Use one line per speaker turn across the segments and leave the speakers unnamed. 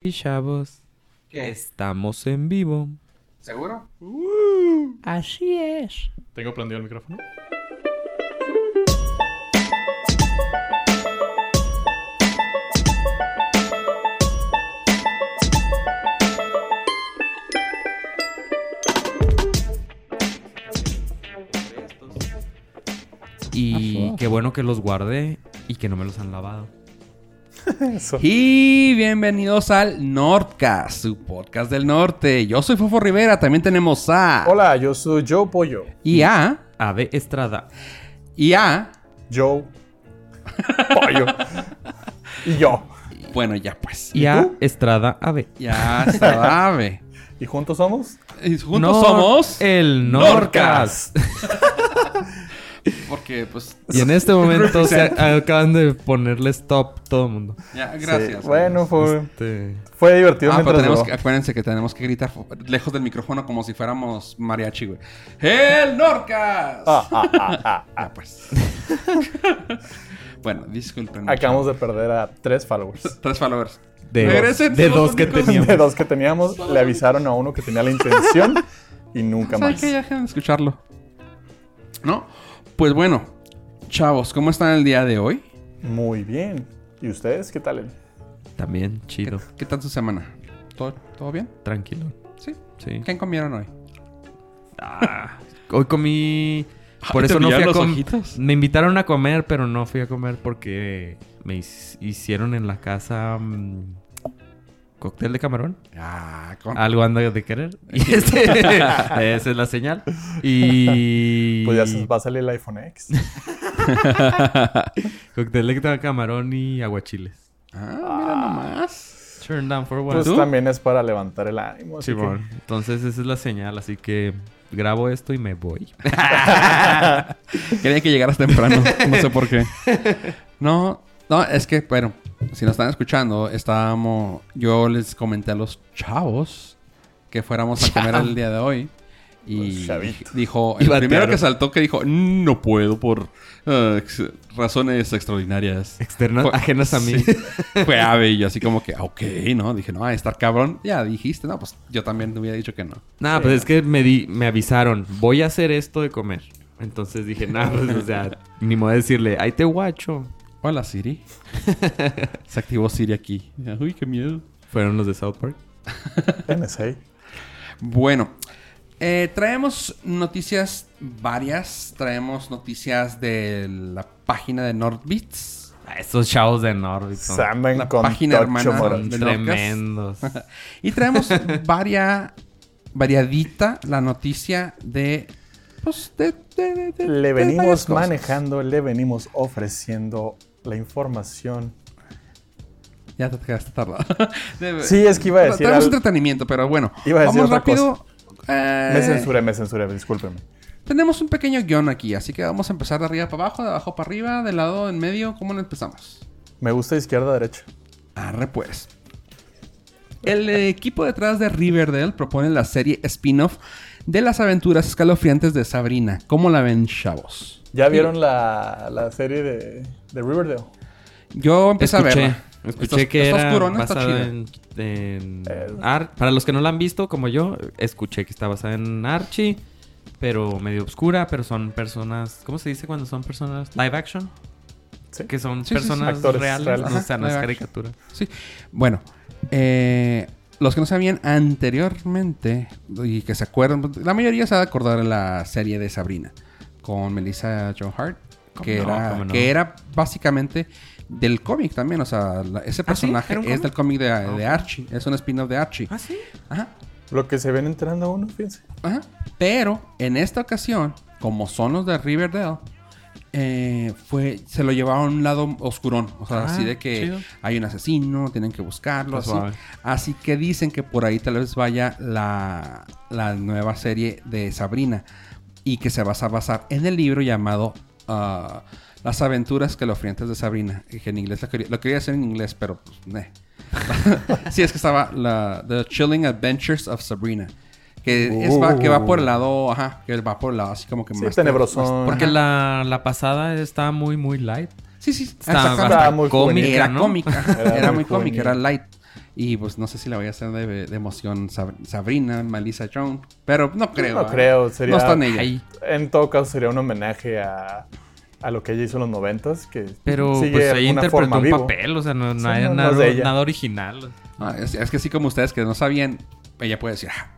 papi chavos.
¿Qué?
Estamos en vivo.
¿Seguro?
Así es.
Tengo prendido el micrófono.
Y qué bueno que los guardé y que no me los han lavado.
Eso.
Y bienvenidos al Nordcast, su podcast del norte. Yo soy Fofo Rivera, también tenemos a...
Hola, yo soy Joe Pollo.
Y a...
Ave Estrada.
Y a...
Joe Pollo. y yo.
Bueno, ya pues.
Y a Estrada Ave.
Ya sabe.
¿Y juntos somos?
Y juntos somos...
el Norcas.
Norcas. Porque pues...
Y en este momento se a- acaban de ponerle stop todo el mundo.
Ya, gracias.
Sí. Bueno,
amigos.
fue,
Este,
fue divertido
Ah, pero
mientras
tenemos
duró.
que- acuérdense que tenemos que gritar fu- lejos del micrófono como si fuéramos mariachi, güey. ¡El Norcas!
Ah, ah, ah, ah, ah.
Ah, pues. bueno, disculpen.
Acabamos de perder a tres followers.
Tres followers.
De,
Regresen,
dos, de
son
dos
los
que
únicos.
teníamos.
De dos que teníamos, le avisaron a uno que tenía la intención y nunca
¿Saben
más.
qué? Ya dejen de escucharlo. ¿No? Pues bueno, chavos, ¿cómo están el día de hoy?
Muy bien. ¿Y ustedes qué tal?
También
¿Qué,
chido,
qué tal su semana? ¿Todo, todo bien?
tranquilo.
¿Sí?
Sí.
¿Qué comieron hoy?
Hoy comí. Por
Ay,
eso
te
no fui a
brillaron los
comer.
ojitos.
Me invitaron a comer, pero no fui a comer porque me his- hicieron en la casa mm, cóctel de camarón.
Ah, con...
Algo anda de querer. Y este- esa es la señal. Y.
Pues ya se- va a salir el iPhone X.
Cóctel de camarón y aguachiles.
Ah, mira nomás.
Turn down for one.
Pues también es para levantar el ánimo. así que-
Simón. Entonces esa es la señal, así que grabo esto y me voy.
Quería que llegaras temprano, no sé por qué. No, no, es que, bueno, si nos están escuchando, estábamos. Yo les comenté a los chavos que fuéramos a comer el día de hoy.
Los
Y
chavitos.
dijo,
Y
el primero
batearon.
que saltó que dijo, no puedo por eh, ex- razones extraordinarias.
Externas,
Fue-
ajenas a mí.
Sí. Fue ave y yo así como que, "Ah, ok, ¿no? Dije, no, a estar cabrón. Ya dijiste, no, pues yo también te hubiera dicho que no.
Nada, pues es que me, di, me avisaron, voy a hacer esto de comer. Entonces dije, nada, pues o sea, ni modo de decirle, ahí te guacho.
Hola Siri. Se activó Siri aquí. Uy, qué miedo.
Fueron los de South Park.
NSA.
Bueno, eh, traemos noticias varias. Traemos noticias de la página de Nordbits.
Ah, Esos chavos de Nordic
Se
son,
andan
La
con
página
tocho
hermana
moro.
son
de Nordcast.
tremendos.
Y traemos varia, variadita la noticia de... Pues, de, de- de- de- de
Le
varias
venimos
cosas.
manejando, le venimos ofreciendo la información.
Ya te quedaste tardado. De-
Sí, es que iba a decir
Traemos
al-
entretenimiento, pero bueno.
Iba a decir
vamos
otra
rápido. eh,
Me censuré, me censuré, discúlpeme.
Tenemos un pequeño guión aquí, así que vamos a empezar de arriba para abajo, de abajo para arriba, de lado en medio. ¿Cómo lo empezamos?
Me gusta izquierda, derecha.
Arre pues. El equipo detrás de Riverdale propone la serie spin-off de las aventuras escalofriantes de Sabrina. ¿Cómo la ven, chavos?
¿Ya vieron la, la serie de, de Riverdale?
Yo empecé a
Escuché,
verla.
escuché
Está-
que
está
era
oscurona, está
basada
chida.
en, en
Eh.
Ar- Para los que no la han visto, como yo, escuché que está basada en Archie, pero medio oscura, pero son personas... ¿Cómo se dice cuando son personas live action?
Sí.
Que son
Sí, sí, sí.
personas
Actores
reales,
reales.
no o sea, no es
Ajá, live action.
caricatura.
Sí. Bueno, eh, los que no sabían anteriormente y que se acuerdan, pues, la mayoría se va a acordar de la serie de Sabrina con Melissa Joan Hart,
¿Cómo
que,
no?
era,
¿Cómo no?
que era básicamente del cómic también. O sea, la- ese personaje
Ah, ¿Era un Ah,
es del cómic de, de
ok.
Archie, es un spin-off de Archie.
¿Ah, sí?
Ajá.
Lo que se ven enterando uno, fíjense.
Ajá. Pero en esta ocasión, como son los de Riverdale, eh, fue, se lo llevaron a un lado oscurón. O sea,
Ah,
así de que
chido.
hay un asesino, tienen que buscarlo.
Está
Así.
suave.
así que dicen que por ahí tal vez vaya la, la nueva serie de Sabrina y que se va a basar en el libro llamado ah, Las aventuras escalofriantes de Sabrina. Dije en inglés, lo quería, lo quería hacer en inglés, pero pues, meh. sí, es que estaba la, The Chilling Adventures of Sabrina. Que, es va- que va por el
Oh.
lado, ajá, que va por el lado así como que
Sí,
más...
tenebrosón.
más-
Porque
ajá.
la, la pasada está muy, muy light.
Sí, sí,
Está,
exactamente.
bastante-
bastante
muy
cómica,
Era
¿no?
cómica, era,
Era
muy
muy
cómica,
juvenil.
era light. Y pues no sé si la voy a hacer de, de emoción Sab- Sabrina, Melissa Jones, pero no creo.
no
¿eh?
creo, sería-
No está en ella.
Ay,
En todo caso, sería un homenaje a, a lo que ella hizo en los noventas, que
pero
sigue
pues
de
ella
alguna
interpretó
forma
un
vivo.
papel, o sea, no, no
Sí,
hay
no, no
nada,
es de ella.
nada original.
No, es, es que así como ustedes que no sabían, ella puede decir, "Ah,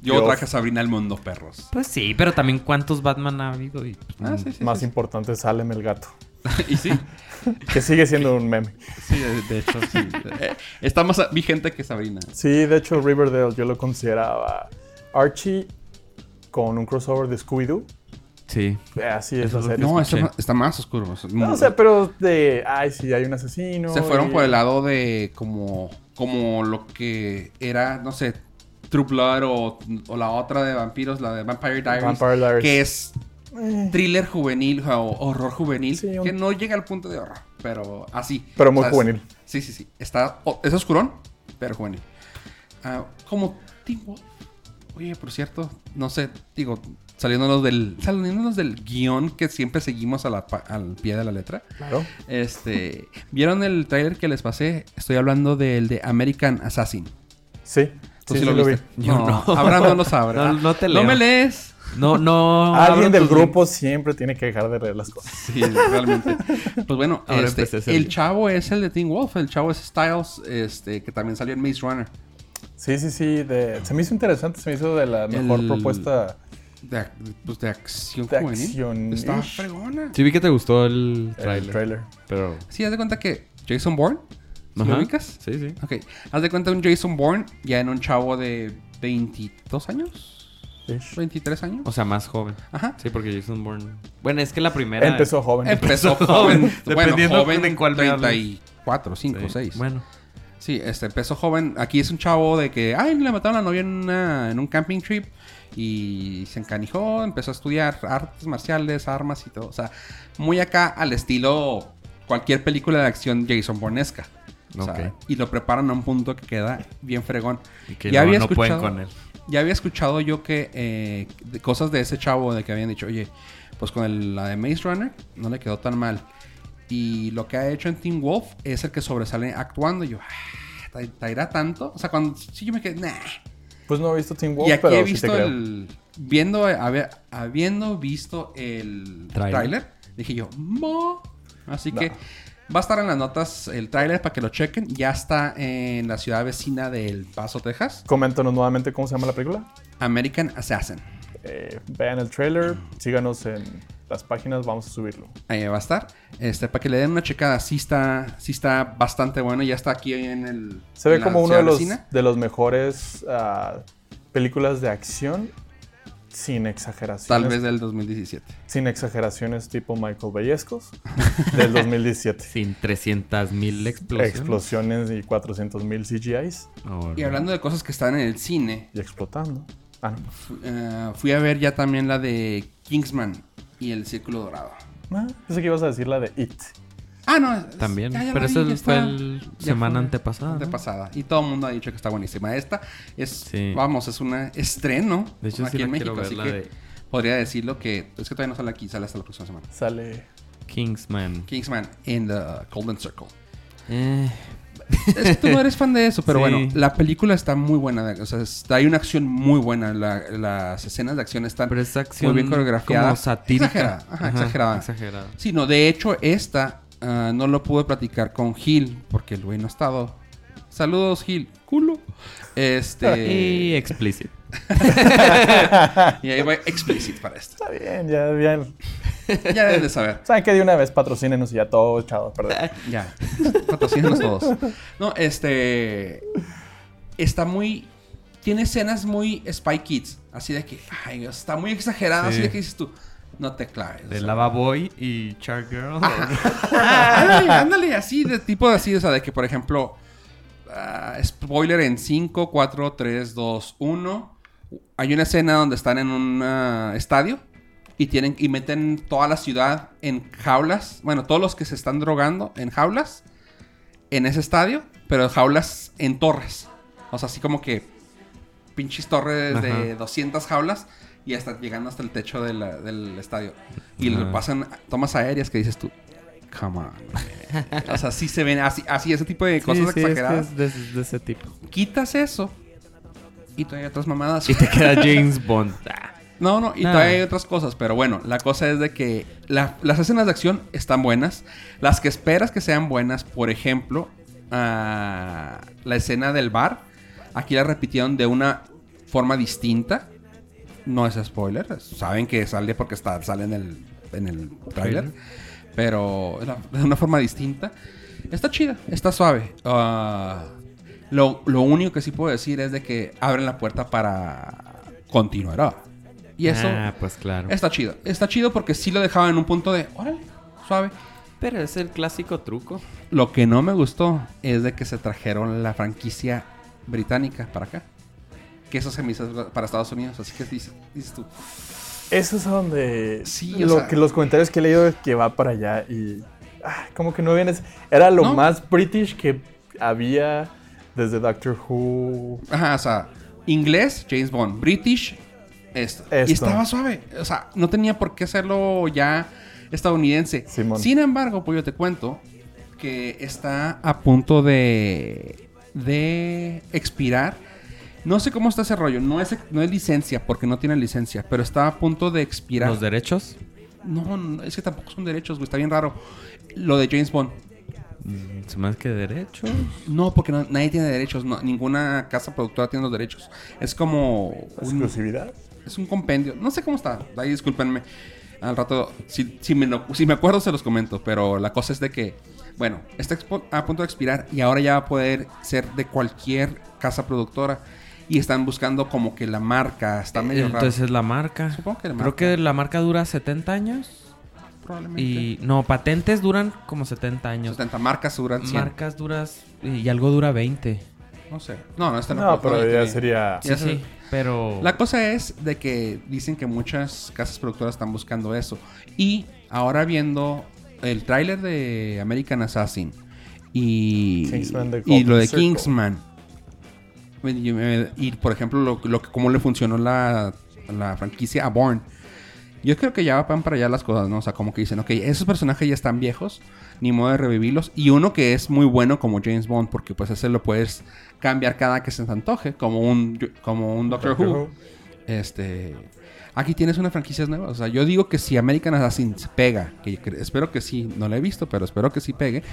yo
Yo-
traje a Sabrina al mundo, perros.
Pues sí, pero también cuántos Batman ha habido. Y, pues,
Ah, sí, sí,
Más
sí.
importante es Salem el gato,
y sí,
que sigue siendo un meme.
sí, de, de hecho, sí. Eh, Está más vigente que Sabrina.
Sí, de hecho, Riverdale yo lo consideraba Archie con un crossover de Scooby-Doo.
Sí.
Eh, Así es
Eso
la
es lo
serie.
No, está,
escuché.
más- está más oscuro. es muy-
No, o sea, pero de, ay, sí, hay un asesino.
se fueron
y-
por el lado de como, como lo que era, no sé, True Blood o, o la otra de vampiros, la de Vampire Diaries.
Vampire Diaries.
Que es
Eh,
thriller juvenil o horror juvenil.
Sí, un-
Que no llega al punto de horror, pero así.
Pero muy
O sea, es-
juvenil.
Sí, sí, sí. Está, o- es oscurón, pero juvenil. Ah, como Teen Wolf. Oye, por cierto, no sé, digo, saliéndonos del, saliéndonos del guión que siempre seguimos a la pa- al pie de la letra.
Claro.
Este, ¿vieron el tráiler que les pasé? Estoy hablando del de American Assassin.
Sí.
¿Tú
sí,
sí lo
sí lo vi.
viste?
Yo no.
Abraham no lo sabe.
No, no te leo.
No me lees.
No, no. abro
Alguien del
tus
grupo siempre tiene que dejar de leer las cosas.
Sí, realmente. Pues bueno,
Ahora
este,
empecé a hacer
el
yo.
chavo es el de Teen Wolf, el chavo es Styles, este, que también salió en Maze Runner.
Sí, sí, sí. de- Se me hizo interesante, se me hizo de la mejor
El-
propuesta.
De, ac- pues de acción
De
juvenil.
acción-ish.
Está fregona.
links. Sí vi que te gustó el trailer.
El trailer.
Pero...
Sí, haz de cuenta que Jason Bourne, ¿sí ¿lo
Ajá.
ubicas?
Sí, sí.
Ok, haz de cuenta un Jason Bourne ya en un chavo de 22 años,
Ish.
23 años.
O sea, más joven.
Ajá.
Sí, porque Jason Bourne... Bueno, es que la primera...
Empezó joven.
Empezó
joven,
joven.
dependiendo
bueno, joven
de cuál me hables.
34, 5,
Sí.
6.
Bueno.
Sí, este empezó joven. Aquí es un chavo de que, ay, le mataron a la novia en, una- en un camping trip y se encanijó, empezó a estudiar artes marciales, armas y todo. O sea, muy acá al estilo cualquier película de acción Jason Bonesca.
Ok.
y lo preparan a un punto que queda bien fregón.
Y que
Ya
luego
había
no pueden
escuchado-
con él.
Ya había escuchado yo que eh, de- cosas de ese chavo de que habían dicho, oye, pues con el- la de Maze Runner no le quedó tan mal. Y lo que ha hecho en Team Wolf es el que sobresale actuando. Y yo, ah, ¿te, te irá tanto? O sea, cuando sí yo me quedé, nah.
Pues no he visto Team
y
Wolf,
aquí he
pero sí te
visto
creo.
el. Viendo, a ver, habiendo visto el
Tráiler.
tráiler, dije yo, mo. Así
No.
que va a estar en las notas el tráiler para que lo chequen. Ya está en la ciudad vecina del Paso, Texas.
Coméntanos nuevamente cómo se llama la película.
American Assassin.
Eh, vean el trailer, síganos en las páginas, vamos a subirlo.
Ahí eh, va a estar. Este, para que le den una checada. Sí está, sí está bastante bueno. Ya está aquí en el.
Se ve
en la
como uno de
ciudad
los,
vecina.
de los mejores ah, películas de acción sin exageraciones.
Tal vez del 2017.
Sin exageraciones tipo Michael Vallescos del 2017.
Sin 300 mil explosiones.
Explosiones y 400 mil CGIs
Ahora.
Y hablando de cosas que están en el cine,
y explotando. Ah, no.
fu- eh, fui a ver ya también la de Kingsman y el Círculo Dorado.
Ah, pensé que ibas a decir la de It.
Ah, no. es-
También.
ya- ya la
Pero
vi,
esa
ya
fue
está.
el
Ya
semana
fue
antepasada. ¿no?
Antepasada. Y todo el mundo ha dicho que está buenísima. Esta es,
Sí.
vamos, es un estreno
De hecho,
aquí
sí
en
la quiero
México.
ver,
Así
la
que
de-
podría decirlo que es que todavía no sale aquí, sale hasta la próxima semana.
Sale.
Kingsman.
Kingsman in the Golden Circle.
Eh,
Es que tú no eres fan de eso, pero
Sí.
bueno, la película está muy buena. O sea, está- hay una acción muy buena. la- las escenas de acción están
pero esa acción
muy bien coreografiada.
como satírica.
Exagerada. Ajá,
Ajá,
exagerada.
exagerada.
Sí, no, de hecho, esta ah, no lo pude platicar con Gil porque el güey no ha estado. Saludos, Gil. Culo.
Y
Este.
explícito.
y ahí va explícito para esto.
Está bien, ya, ya.
Ya deben de saber.
Saben que de una vez patrocínenos y ya todo, chavos, perdón.
Ya. Patrocínanos todos. No, este. Está muy. Tiene escenas muy Spy Kids. Así de que. Ay, Dios, está muy exagerado. Así
Sí.
de que dices tú. No te claves.
De
o sea.
Lavaboy y Char Girl.
ándale, ándale, así de tipo así. O sea, de que, por ejemplo. ah, spoiler en 5, 4, 3, 2, 1. Hay una escena donde están en un ah, estadio. Y, tienen, y meten toda la ciudad en jaulas. Bueno, todos los que se están drogando en jaulas en ese estadio, pero jaulas en torres. O sea, así como que pinches torres de
Ajá.
200 jaulas y hasta llegando hasta el techo de la- del estadio. Y le
Ajá.
pasan tomas aéreas que dices tú, come on. man. o sea, sí se ven así, así ese tipo de cosas
sí, sí, es que
exageradas.
es de, ese- de ese tipo.
Quitas eso y todavía hay otras mamadas.
Y te queda James Bond. Ah,
No, no, y
Nah.
todavía hay otras cosas, pero bueno, la cosa es de que la- las escenas de acción están buenas. Las que esperas que sean buenas, por ejemplo, ah, la escena del bar, aquí la repitieron de una forma distinta. No es spoiler, saben que sale porque está, sale en el, en el tráiler, pero la- de una forma distinta. Está chida, está suave. Ah, lo, lo único que sí puedo decir es de que abren la puerta para continuará. Y eso
Ah, pues claro.
está chido. Está chido porque sí lo dejaba en un punto de, órale, suave.
Pero es el clásico truco.
Lo que no me gustó es de que se trajeron la franquicia británica para acá. Que eso se me hizo para Estados Unidos. Así que dices, dices tú,
Eso es a donde
Sí, o
lo
sea-
que los comentarios que he leído es que va para allá y ah, como que no vienes. Era lo
No.
más british que había desde Doctor Who.
Ajá, o sea, inglés, James Bond, British, esto.
Esto.
Y estaba suave. O sea, no tenía por qué hacerlo ya estadounidense.
Simón.
Sin embargo, pues yo te cuento que está a punto de, de expirar. No sé cómo está ese rollo. No es, no es licencia, porque no tiene licencia, pero está a punto de expirar.
Los derechos.
No, no, es que tampoco son derechos, güey. Está bien raro. Lo de James Bond.
Mm, Se más que derechos.
No, porque no- nadie tiene derechos. no, ninguna casa productora tiene los derechos. Es como... un-
Exclusividad.
Es un compendio. No sé cómo está. Ahí discúlpenme. Al rato, si, si me, lo- si me acuerdo, se los comento. Pero la cosa es de que, bueno, está expo- a punto de expirar y ahora ya va a poder ser de cualquier casa productora. Y están buscando como que la marca. Está medio raro.
Entonces la marca.
Supongo que la
Creo
marca.
que la marca dura 70 años.
Probablemente.
Y no, patentes duran como 70 años.
70 marcas duran 100.
Marcas duras y algo dura 20.
No sé. No, no está en la
No,
productora
pero
ya tenía.
ya sería.
Sí,
Ya
sí.
sé.
Pero.
La cosa es de que dicen que muchas casas productoras están buscando eso. Y ahora viendo el tráiler de American Assassin y,
Kingsman de
y lo de
Golden Circle.
Kingsman. Y, y, por ejemplo, lo, lo que- cómo le funcionó la, la franquicia a Bourne. Yo creo que ya van para allá las cosas, ¿no? O sea, como que dicen, ok, esos personajes ya están viejos, ni modo de revivirlos. Y uno que es muy bueno como James Bond, porque pues ese lo puedes cambiar cada que se te antoje, como un, como un Doctor,
Doctor
Who.
Who.
Este. Aquí tienes unas franquicias nuevas. O sea, yo digo que si American Assassin pega, que yo cre- espero que sí, no la he visto, pero espero que sí pegue.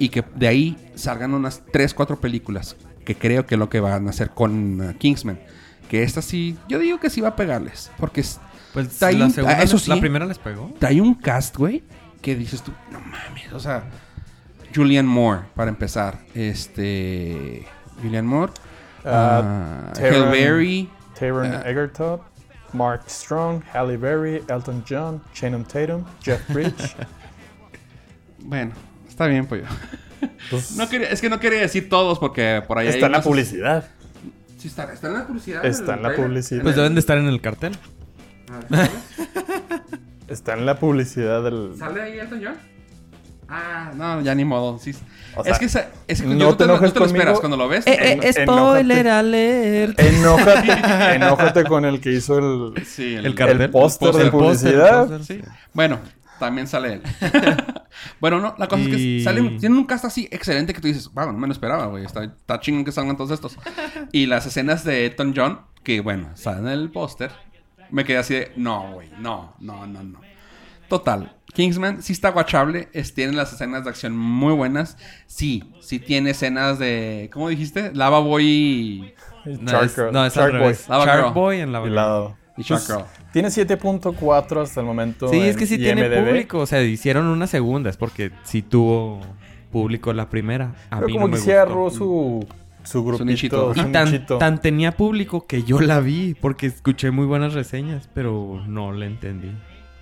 Y que de ahí salgan unas 3, 4 películas. Que creo que es lo que van a hacer con eh, Kingsman. Que esta sí, yo digo que sí va a pegarles. Porque es-
Pues
Está
la
ahí-
segunda.
ah, eso
les- La
sí.
primera les pegó.
trae un cast, güey, que dices tú, no mames, o sea, Julian Moore, para empezar, este, Julian Moore, ah, Halle
Taron-
Berry,
Taron
Ah.
Egerton, Mark Strong, Halle Berry, Elton John, Channing Tatum, Jeff Bridge.
bueno, está bien, pollo.
Pues,
No quería- es que no quería decir todos porque por ahí hay
está en la
unos-
publicidad.
Sí, está, está en la publicidad.
Está en la
trailer.
publicidad.
Pues deben de estar en el cartel.
Ah,
Está en la publicidad del.
¿Sale ahí Elton John? Ah, no, ya ni modo. sí.
O
es
sea,
que, esa- es que
no
yo no
te
te, lo- no
enojes
te lo esperas
conmigo.
cuando lo ves.
eh, En- spoiler enójate.
alert.
Enójate, enójate con el que hizo eh, el,
Sí,
El cartel.
el póster de
El póster,
publicidad.
el póster, sí.
Bueno, también sale él. bueno, no, la cosa es
Y-
que sale, tienen un cast así excelente que tú dices, wow, no me lo esperaba, güey. Está, está chingón que salgan todos estos. y las escenas de Elton John, que bueno, salen en el póster, me quedé así de, no, güey, no, no, no, no. Total, Kingsman sí está guachable, es- tiene las escenas de acción muy buenas. Sí, sí tiene escenas de, ¿cómo dijiste? Lava Boy
No,
Shark
es,
Girl-
no, es al
Shark
revés.
Lava
Shark
Girl.
Boy en la
Boy y Lava.
y Shark Girl.
Tiene 7.4 hasta el momento.
Sí, es
en
que sí tiene
IMDb.
público. O sea, hicieron una segunda. Es porque sí tuvo público la primera. A
Pero
mí
como
no
que
me
sí
gustó.
agarró su, su grupito.
nichito.
Y
su
tan,
nichito.
tan tenía público que yo la vi porque escuché muy buenas reseñas, pero no la entendí.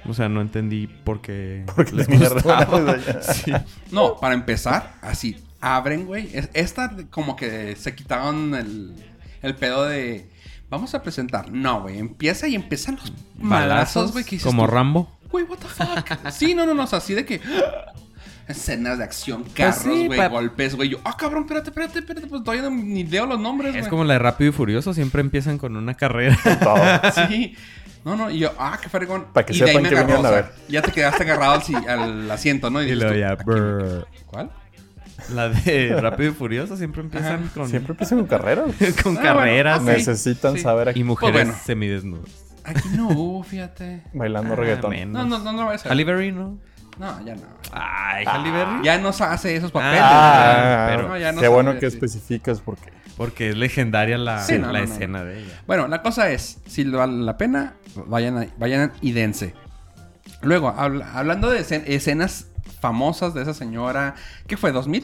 O sea, no entendí por qué
Porque
les
tenía
gustaba.
razón.
Sí.
Este, No, para empezar, así, abren, güey. Es- Esta como que se quitaron el, el pedo de... Vamos a presentar. No, güey. Empieza y empiezan los malazos, güey. que dices
como
tú,
Rambo.
Güey, what the fuck. sí, no, no, no. O sea, así de que... Escenas de acción, carros,
Pues sí,
güey,
pa-
golpes, güey. Yo, ah, cabrón, espérate, espérate, espérate. Pues todavía no- ni leo los nombres, güey.
Es como la de Rápido y Furioso, siempre empiezan con una carrera.
Todo.
Sí. No, no, y yo, ah, qué fregón.
Para que
y de ahí
sepan
me
que
agarró,
vinieron
o
a
sea,
ver.
ya te quedaste agarrado al, si- al asiento, ¿no?
Y
dices
luego
tú,
ya,
"Aquí me
brr".
quedo". ¿Cuál?
La de Rápido y Furioso siempre empiezan
Ajá.
con,
Siempre empiezan con carreras.
con
Ah,
carreras
bueno, ok.
y-
Necesitan
Sí.
saber
y
aquí
mujeres
Pues bueno.
semidesnudas.
Aquí no hubo, fíjate.
bailando
Ah,
reggaetón.
men.
No, no, no, no lo vayas a
Halle
hacer.
Berry, ¿no? Ah,
No, ya no.
Ay, Halle Berry.
Ya no se hace esos papeles.
Ah,
ya.
pero-
No, ya no
qué
se
bueno
hace,
que
sí.
especificas porque
Porque es legendaria la,
Sí, no,
la
no, no.
escena de ella.
Bueno, la cosa es, si le vale la pena, vayan, a- vayan y dense. Luego, habla- hablando de escen- escenas famosas de esa señora, ¿qué fue? ¿2000?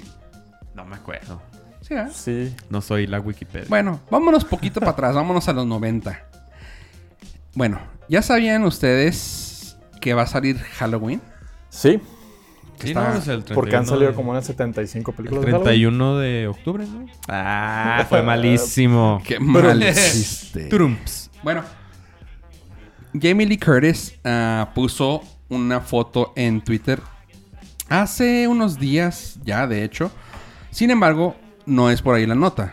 No me acuerdo.
Sí, ¿verdad?
sí.
No soy la Wikipedia.
Bueno, vámonos poquito para atrás, vámonos a los 90. Bueno, ya sabían ustedes que va a salir Halloween.
Sí,
Sí,
está-
no, o sea, el 31
porque han salido
de-
como unas 75
El
películas. de Halloween.
31 de octubre, ¿no? Ah, fue malísimo.
Qué
Pero-
mal hiciste.
Trumps.
Bueno, Jamie Lee Curtis ah, puso una foto en Twitter hace unos días ya, de hecho. Sin embargo, no es por ahí la nota.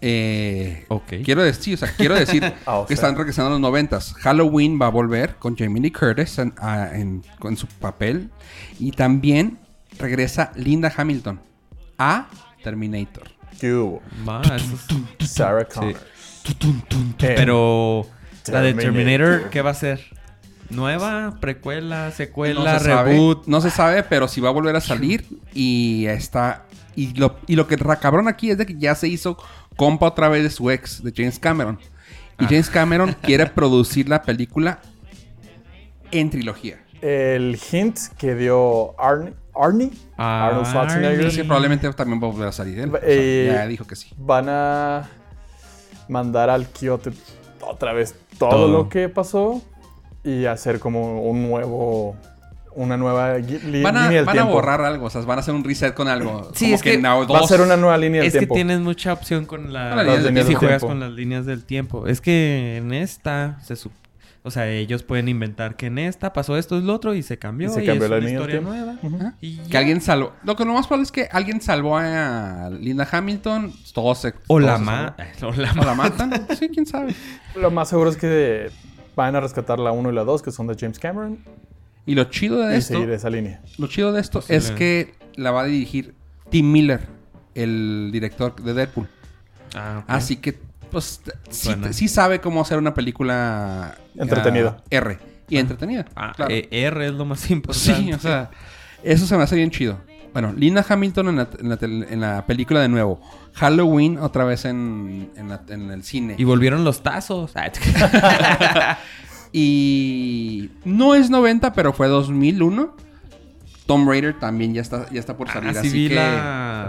Eh,
Ok.
Quiero decir, o sea, quiero decir
Ah, o
que
sea.
están regresando a los noventas. Halloween va a volver con Jamie Lee Curtis en, ah, en- con su papel. Y también regresa Linda Hamilton a Terminator.
¿Qué hubo?
Va, eso es-
Sarah Connor. Eh,
Pero la de Terminator,
Terminator.
¿qué va a ser? ¿Nueva? ¿Precuela? ¿Secuela?
no se
¿Reboot?
Sabe, Pues no se sabe, pero si va a volver a salir y está... Y lo, y lo que ra- cabrón aquí es de que ya se hizo compa otra vez de su ex, de James Cameron. Y James Cameron quiere producir la película en trilogía.
El hint que dio Arnie, Arnie,
Ah,
Arnold Schwarzenegger,
Creo que probablemente también va a volver a salir él. O sea,
Eh,
ya dijo que sí.
van a mandar al Kiote otra vez todo,
Todo.
lo que pasó y hacer como un nuevo, una nueva gui- li-
Van a,
eh, línea del
van a
tiempo.
borrar algo, o sea, van a hacer un reset con algo.
Sí,
Como
es que
Now
Va a
2.
ser una nueva línea del
Es que
tiempo.
tienes mucha opción con la,
Con las líneas del
si
tiempo.
juegas
tiempo.
con las líneas del tiempo. Es que en esta se sup- o sea, ellos pueden inventar que en esta pasó esto y lo otro y se cambió
Y
y,
se cambió
es
la
una
línea del
historia
tiempo.
nueva.
Ujú.
Y ya.
Que alguien salvó. Lo que lo más probable es que alguien salvó a Linda Hamilton. Todos se.
o la
todos se
ma- o la
salvaron. O
ma-
la matan. sí, quién sabe.
Lo más seguro es que van a rescatar la 1 y la 2, que son de James Cameron,
Y lo chido de
y
esto.
seguir esa línea.
Lo chido de esto
Posible.
es que la va a dirigir Tim Miller, el director de Deadpool.
Ah, ok.
Así que, pues, t- sí,
Suena.
sí sabe cómo hacer una película.
Entretenida.
ah, R. Y entretenida.
Ah,
claro.
eh, pues R es lo más importante.
Sí, o sea, eso se me hace bien chido. Bueno, Linda Hamilton en la, en la tel- en la película de nuevo. Halloween otra vez en, en la- en el cine.
Y
Y,
volvieron los tazos. Ah,
no es 90, pero fue 2001. Tom Raider también ya está, ya está por salir.
Ah, sí vi
así que, Ah,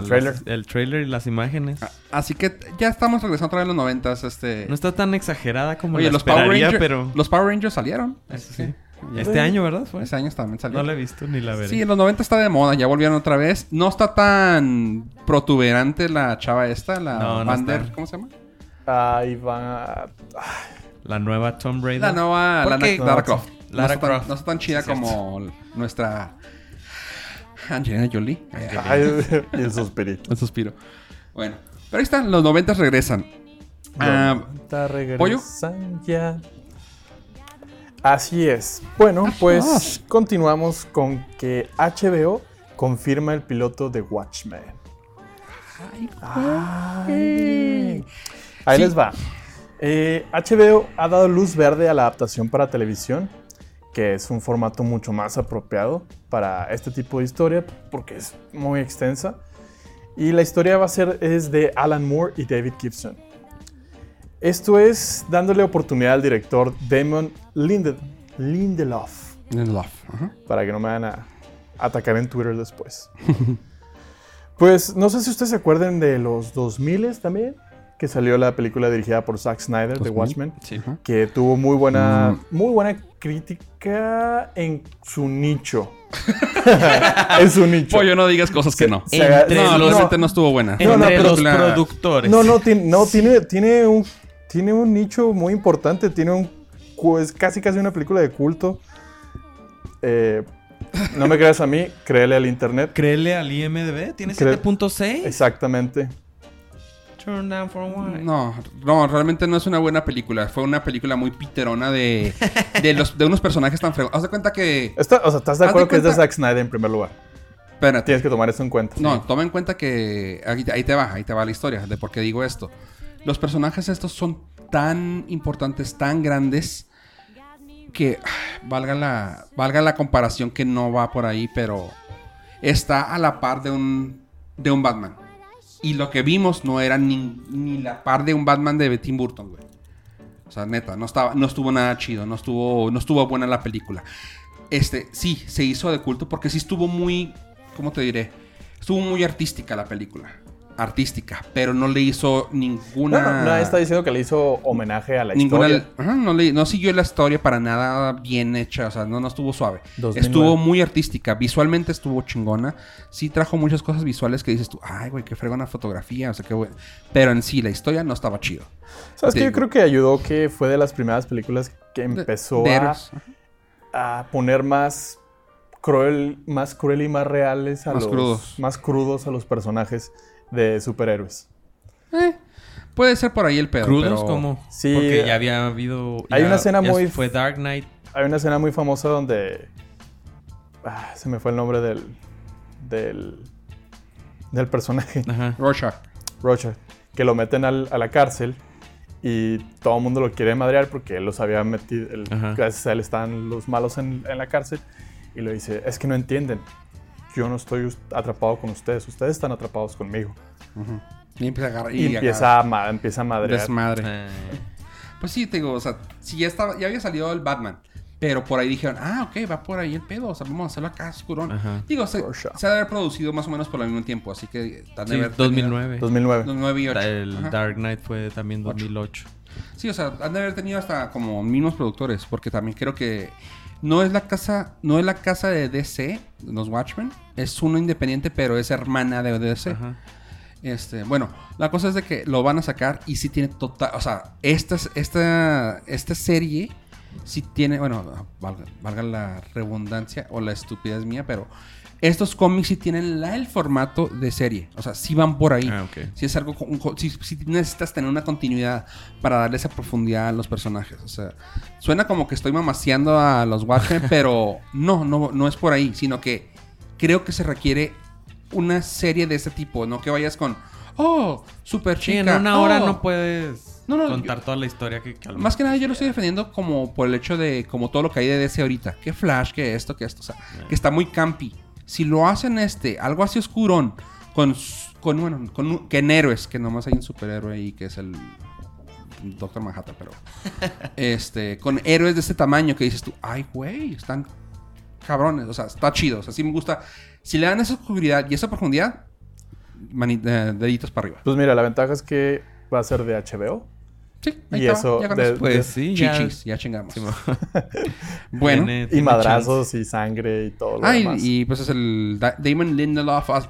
la-
eh.
el trailer.
las- el trailer y las imágenes.
a- así que ya estamos regresando otra vez a los 90. Este...
No está tan exagerada como
Oye,
la
los Power,
esperaría,
Ranger-
pero
los Power Rangers salieron.
Eso
así
sí.
que-
este año, ¿verdad? Fue?
Ese año también salió.
No la he visto ni la veré.
Sí, en los 90 está de moda, ya volvieron otra vez. No está tan protuberante la chava esta, la
No, no
Vander,
está.
¿cómo se llama?
Ahí van a...
La nueva Tomb Raider.
La nueva Lana,
Porque-
Lara Croft.
Lara
no, está tan,
Croft.
no está tan chida
Sí, es cierto.
como nuestra Angelina Jolie.
Ay, y el suspirito.
Un suspiro. Bueno, pero ahí están, los 90 regresan. Ah,
Está regresan ya. Así es. Bueno,
Ah,
pues continuamos con que HBO confirma el piloto de Watchmen. Ay. Ahí
Sí.
les va. Eh, HBO ha dado luz verde a la adaptación para televisión, que es un formato mucho más apropiado para este tipo de historia porque es muy extensa. Y la historia va a ser es de Alan Moore y David Gibson. Esto es dándole oportunidad al director Damon Linde- Lindelof
Mm.
In Love. ajá.
para que no me van a atacar en Twitter después. pues no sé si ustedes se acuerdan de los 2000 también, que salió la película dirigida por Zack Snyder de
2000.
Watchmen,
Sí.
que tuvo muy buena, muy buena crítica en su nicho. en su nicho.
Pollo, no digas cosas que no.
se aga-
Entre
no,
los-
realmente no estuvo buena.
No, no,
Entre
pero-
los
la-
productores.
No, no, tiene, no tiene, tiene, un, tiene un nicho muy importante. Tiene un. cu- Es casi casi una película de culto. Eh, no me creas a mí, créele al internet.
Créele al IMDB. Tiene
Cre-
7.6.
Exactamente.
Turn down for what?
No, no, realmente no es una buena película. Fue una película muy piterona de, de, los, de unos personajes tan fregados. Haz de cuenta que.
Está- o sea, ¿estás de
Haz de
acuerdo que es de
cuenta-
Zack Snyder en primer lugar?
Espérate.
Tienes que tomar eso en cuenta.
No, toma en cuenta que ahí, ahí te va, ahí te va la historia de por qué digo esto. Los personajes estos son tan importantes, tan grandes, que ah, valga la, valga la comparación que no va por ahí, pero está a la par de un, de un Batman. Y lo que vimos no era ni, ni la par de un Batman de Tim Burton, güey. O sea, neta, no, estaba, no estuvo nada chido, no estuvo, no estuvo buena la película. Este, sí, se hizo de culto porque sí estuvo muy, ¿cómo te diré? Estuvo muy artística la película. Artística, pero no le hizo ninguna...
No, no, nadie está diciendo que le hizo homenaje a la
ninguna
historia.
ajá, no, le- no siguió la historia para nada bien hecha, o sea, no, no estuvo suave.
2009.
Estuvo muy artística, visualmente estuvo chingona. Sí trajo muchas cosas visuales que dices tú, ay, güey, qué fregona fotografía, o sea, qué bueno. Pero en sí, la historia no estaba chido.
¿Sabes qué?
Sí.
Yo creo que ayudó que fue de las primeras películas que
De-
empezó
de
a,
Eros.
a poner más cruel, más cruel y más reales a
Más
los
crudos.
más crudos a los personajes de superhéroes.
Eh, puede ser por ahí el pedo.
¿Crudos
pero-
como?
Sí. eh,
Porque ya había habido...
Hay
ya-
una escena
ya
muy-
Fue Dark Knight.
Hay una escena muy famosa donde ah, se me fue el nombre del del del personaje
Ajá.
Rorschach.
Rocha, que lo meten al- a la cárcel y todo el mundo lo quiere madrear porque él los había metido, él-
Ajá.
gracias a él están los malos en, en la cárcel y le dice, es que no entienden, yo no estoy us- atrapado con ustedes, ustedes están atrapados conmigo.
Y empieza a agarrar.
Y, empieza, a, ma- empieza a madrear.
Desmadre.
Eh,
Pues sí, te digo, o sea, si ya estaba, ya había salido el Batman. Pero por ahí dijeron, ah, ok, va por ahí el pedo. O sea, vamos a hacerlo acá, oscurón.
Ajá.
Digo, se,
Rorschach.
se ha de haber producido más o menos por el mismo tiempo. Así que... tan de
sí,
haber tenido-
2009.
2009.
2009 y 8.
El Dark Knight fue también 2008.
Sí, o sea, han de haber tenido hasta como mismos productores, porque también creo que no es la casa, no es la casa de DC, los Watchmen, es uno independiente, pero es hermana de DC.
Ajá.
Este, bueno, la cosa es de que lo van a sacar y sí tiene total, o sea, esta, esta, esta serie sí tiene, bueno, valga, valga la redundancia o la estupidez mía, pero estos cómics sí tienen la- el formato de serie, o sea, sí van por ahí.
Ah, ok.
Si es algo, con- un co- si, si necesitas tener una continuidad para darle esa profundidad a los personajes. O sea, suena como que estoy mamaseando a los Watchmen, pero no, no, no es por ahí, sino que creo que se requiere una serie de ese tipo, no que vayas con, oh, super
Sí,
chica.
en una hora
oh".
no puedes
No, no,
contar
yo-
toda la historia que... que a lo
Más que
mejor-
nada yo lo estoy defendiendo como por el hecho de como todo lo que hay de DC ahorita. Que Flash, que esto, que esto. O sea, que está muy campi. Si lo hacen este, algo así oscurón, con, s- con bueno, con, un- que en héroes, que nomás hay un superhéroe ahí que es el Doctor Manhattan, pero... este, con héroes de este tamaño que dices tú, ay, güey, están cabrones. O sea, está chido. O sea, sí me gusta. Si le dan esa oscuridad y esa profundidad, mani- eh, deditos para arriba.
Pues mira, la ventaja es que va a ser de HBO.
Sí,
Y
está,
eso
ya con
de-
eso.
Pues
de-
sí, ya...
Chichis, ya chingamos.
Sí, mo-
bueno.
tiene-
Y
tiene
madrazos y sangre y todo lo
Ah, y,
demás.
y, pues es el Da- Damon Lindelof. as-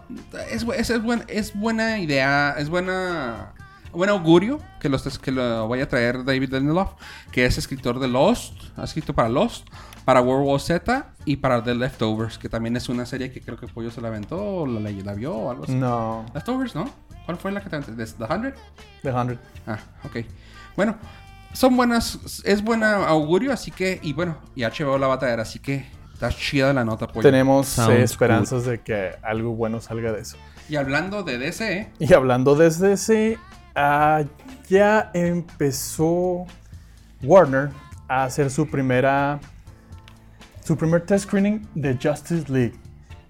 Es, bu- es, es buen- es buena idea, es buena buen augurio que lo, estés- que lo vaya a traer David Lindelof, que es escritor de Lost, ha escrito para Lost, para World War Z y para The Leftovers, que también es una serie que creo que Pollo se la aventó, o la, ley- la vio o algo así.
Mm.
No,
Leftovers, ¿no? ¿Cuál fue la que te aventaste? ¿The 100?
The 100.
Ah, ok. Bueno, son buenas, es buena augurio, así que, y bueno, y HBO la va a traer, así que está chida la nota, Pollo.
Tenemos eh,
Sounds
esperanzas de que algo bueno salga de eso.
Y hablando de E, DC,
Y hablando desde ese, ah, ya empezó Warner a hacer su primera su primer test screening de Justice League.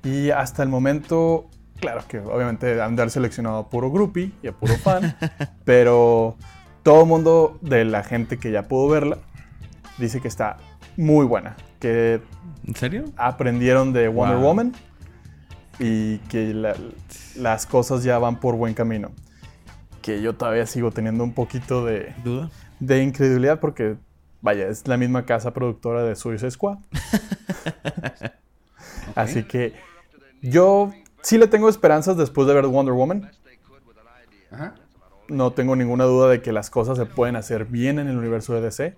Y hasta el momento, claro que obviamente han de haber seleccionado a puro groupie y a puro fan, pero todo el mundo de la gente que ya pudo verla dice que está muy buena, que
¿En serio?
aprendieron de Wonder
Wow.
Woman y que la- las cosas ya van por buen camino. Que yo todavía sigo teniendo un poquito de,
¿Duda?
de incredulidad porque, vaya, es la misma casa productora de Suicide Squad. Así que yo sí le tengo esperanzas después de ver Wonder Woman.
ajá,
No tengo ninguna duda de que las cosas se pueden hacer bien en el universo de DC.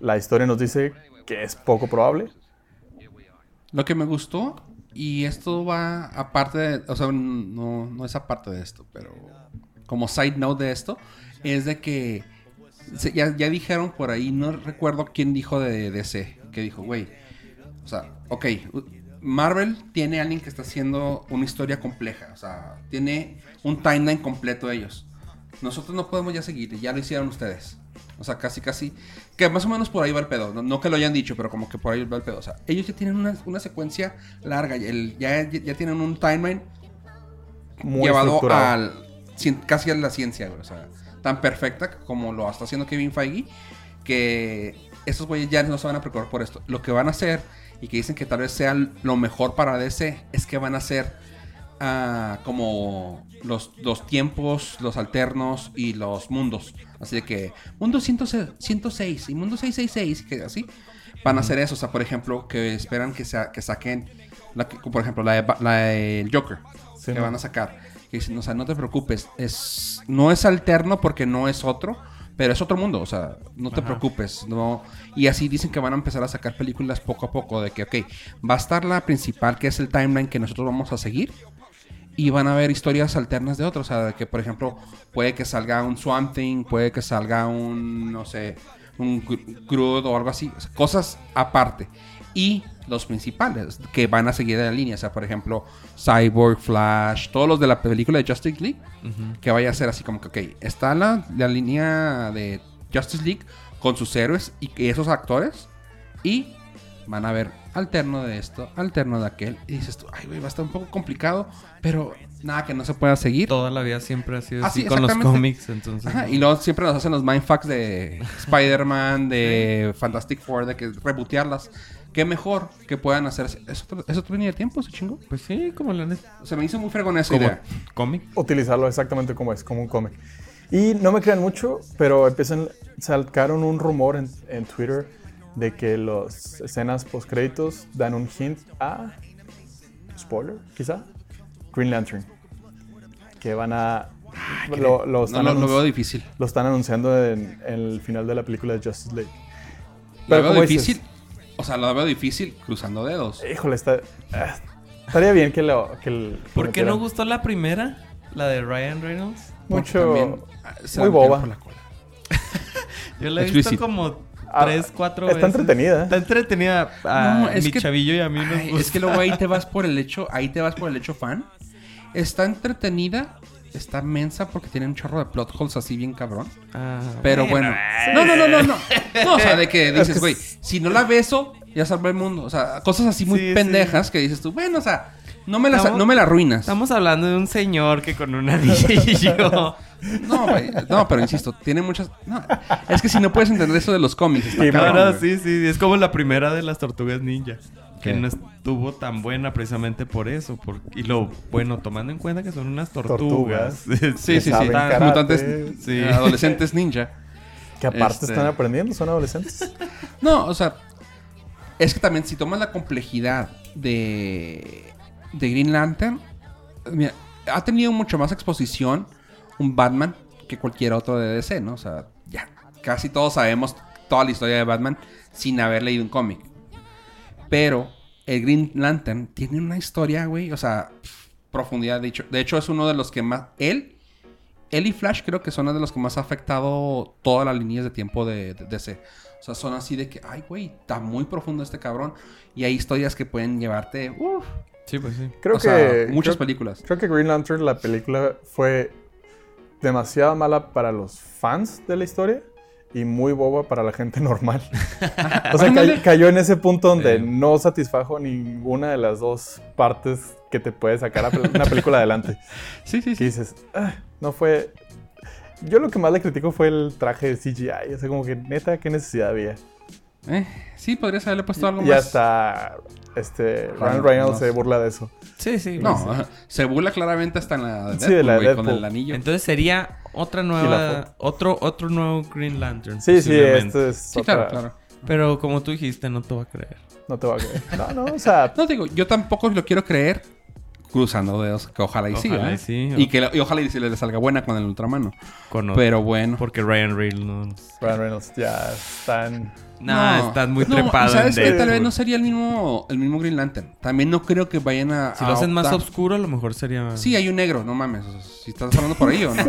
La historia nos dice que es poco probable.
lo que me gustó, y esto va aparte de, o sea, no, no es aparte de esto, pero como side note de esto, es de que se- ya, ya dijeron por ahí, no recuerdo quién dijo de DC, que dijo, güey, o sea, ok, u- Marvel tiene a alguien que está haciendo una historia compleja, o sea, tiene un timeline completo de ellos. Nosotros no podemos ya seguir, ya lo hicieron ustedes. O sea, casi, casi. Que más o menos por ahí va el pedo. No, no que lo hayan dicho, pero como que por ahí va el pedo. O sea, ellos ya tienen una, una secuencia larga. y el- ya, ya tienen un timeline
Muy
llevado
estructurado.
al, cien- casi a la ciencia, güey. O sea, tan perfecta como lo está haciendo Kevin Feige, que estos güeyes ya no se van a preocupar por esto. Lo que van a hacer, y que dicen que tal vez sea lo mejor para DC, es que van a hacer ah, como los, los tiempos, los alternos y los mundos. Así de que mundo 106, 106 y mundo 666, que así van a hacer eso. O sea, por ejemplo, que esperan que, sa- que saquen, la que- por ejemplo, la de Ba- la del Joker,
Sí,
que
¿no?
van a sacar. Que dicen, o sea, no te preocupes, es, no es alterno porque no es otro. Pero es otro mundo, o sea, no te
Ajá.
preocupes, no. Y así dicen que van a empezar a sacar películas poco a poco, de que, ok, va a estar la principal, que es el timeline que nosotros vamos a seguir, y van a haber historias alternas de otros. O sea, que por ejemplo, puede que salga un Swamp Thing, puede que salga un, no sé, un cru- Crude o algo así. O sea, cosas aparte. Y los principales que van a seguir de la línea. O sea, por ejemplo, Cyborg, Flash, todos los de la película de Justice League. Que vaya a ser así como que, ok, está la, la línea de Justice League con sus héroes y que esos actores. Y van a ver alterno de esto, alterno de aquel. Y dices tú, ay, güey, va a estar un poco complicado, pero nada que no se pueda seguir.
Toda la vida siempre ha sido
Ah,
así
sí,
con los
exactamente.
cómics, entonces.
Ajá, y luego siempre nos hacen los mindfucks de Spider-Man, de Fantastic Four, de que rebotearlas. Qué mejor que puedan hacer. ¿Es otro, es otra línea de tiempo, ese chingo?
Pues sí, como la neta.
Se me hizo muy fregón esa
Como
idea.
cómic.
utilizarlo exactamente como es, como un cómic. Y no me crean mucho, pero empiezan, salcaron un rumor en, en Twitter de que las escenas postcréditos dan un hint a, spoiler quizá, Green Lantern. Que van a...
Ah,
Lo, lo
No,
están
lo, lo
anunci-
veo difícil.
lo están anunciando en, en el final de la película de Justice League. Pero
Lo veo
como dices-
difícil. O sea, lo veo difícil cruzando dedos.
Híjole, está, ah, estaría bien que lo... Que l- lo
¿Por qué no
metieran.
gustó la primera? La de Ryan Reynolds.
Porque
Mucho...
también, ah, se
muy
la metieron
boba.
por la cola.
Yo la he
Explicit.
visto como
Ah,
tres, cuatro
está
veces.
entretenida, ¿eh?
Está entretenida. A
No, es
mi
que-
chavillo y a mí nos
Ay,
gusta.
es que luego ahí te vas por el hecho, ahí te vas por el hecho fan. Está entretenida, está mensa porque tiene un chorro de plot holes así bien cabrón.
Ah,
Pero bueno. No, no, no, no, no. No, o sea, de que dices, güey, si no la beso, ya salvo el mundo. O sea, cosas así muy
Sí, sí.
pendejas que dices tú, bueno, o sea, no me la,
Estamos-
no me la arruinas.
Estamos hablando de un señor que con un anillo.
No, güey, no, pero insisto, tiene muchas. no, es que si no puedes entender eso de los cómics, está
Sí,
cabrón,
Ahora sí,
güey.
sí, es como la primera de las tortugas ninja. Que
¿Qué?
no estuvo tan buena precisamente por eso. por- y lo bueno, tomando en cuenta que son unas tortugas.
Sí, sí, sí.
saben
Están
karate. Ah,
mutantes,
Sí.
adolescentes ninja.
Que aparte
Este-
están aprendiendo, son adolescentes.
No, o sea, es que también si tomas la complejidad de, de Green Lantern, mira, ha tenido mucho más exposición un Batman que cualquier otro de DC, ¿no? O sea, ya casi todos sabemos toda la historia de Batman sin haber leído un cómic. Pero el Green Lantern tiene una historia, güey, o sea, pf, profundidad. De hecho, de hecho, es uno de los que más... Él, él y Flash creo que son los de los que más ha afectado todas las líneas de tiempo de, de DC. O sea, son así de que, ay, güey, está muy profundo este cabrón. Y hay historias que pueden llevarte, uff,
Sí, pues sí.
Creo
o
que.
sea, muchas
creo,
películas.
creo que Green Lantern, la película, fue demasiado mala para los fans de la historia y muy boba para la gente normal. o sea,
Ándale.
cay- cayó en ese punto donde
Sí.
no satisfajo ninguna de las dos partes que te puede sacar a pel- una película adelante.
Sí, sí,
Y dices, "Ah, no fue. Yo lo que más le critico fue el traje de CGI. O sea, como que neta, qué necesidad había.
Eh, sí, podrías haberle puesto algo
Y
más.
hasta este,
Ryan
Ryan Reynolds
Reynolds.
se burla de eso.
Sí, sí.
No, se burla claramente hasta en la de
Sí, de la
Deadpool, güey,
Deadpool.
con el anillo.
Entonces sería otra
la
nueva, otro, otro nuevo Green Lantern.
Sí, este. sí,
posiblemente.
esto es.
sí,
otra-
claro, claro.
Pero como tú dijiste, no te va a creer.
No te va a creer. No, no, o sea,
No digo, yo tampoco lo quiero creer cruzando dedos, que ojalá y sí,
Ojalá
¿verdad?
y sí,
Y,
o-
que, le- y ojalá y se le salga buena con el Ultramano.
Con-
Pero bueno.
Porque Ryan Reynolds.
Ryan Reynolds ya están.
Nah,
No.
estás muy
No,
trepado.
¿Sabes
en
que Tal vez
Deadpool.
no sería el mismo, el mismo Green Lantern. También no creo que vayan a.
Si
a
lo hacen más
optar.
oscuro, a lo mejor sería.
Sí, hay un negro, no mames. o sea, Si estás hablando por ahí o no.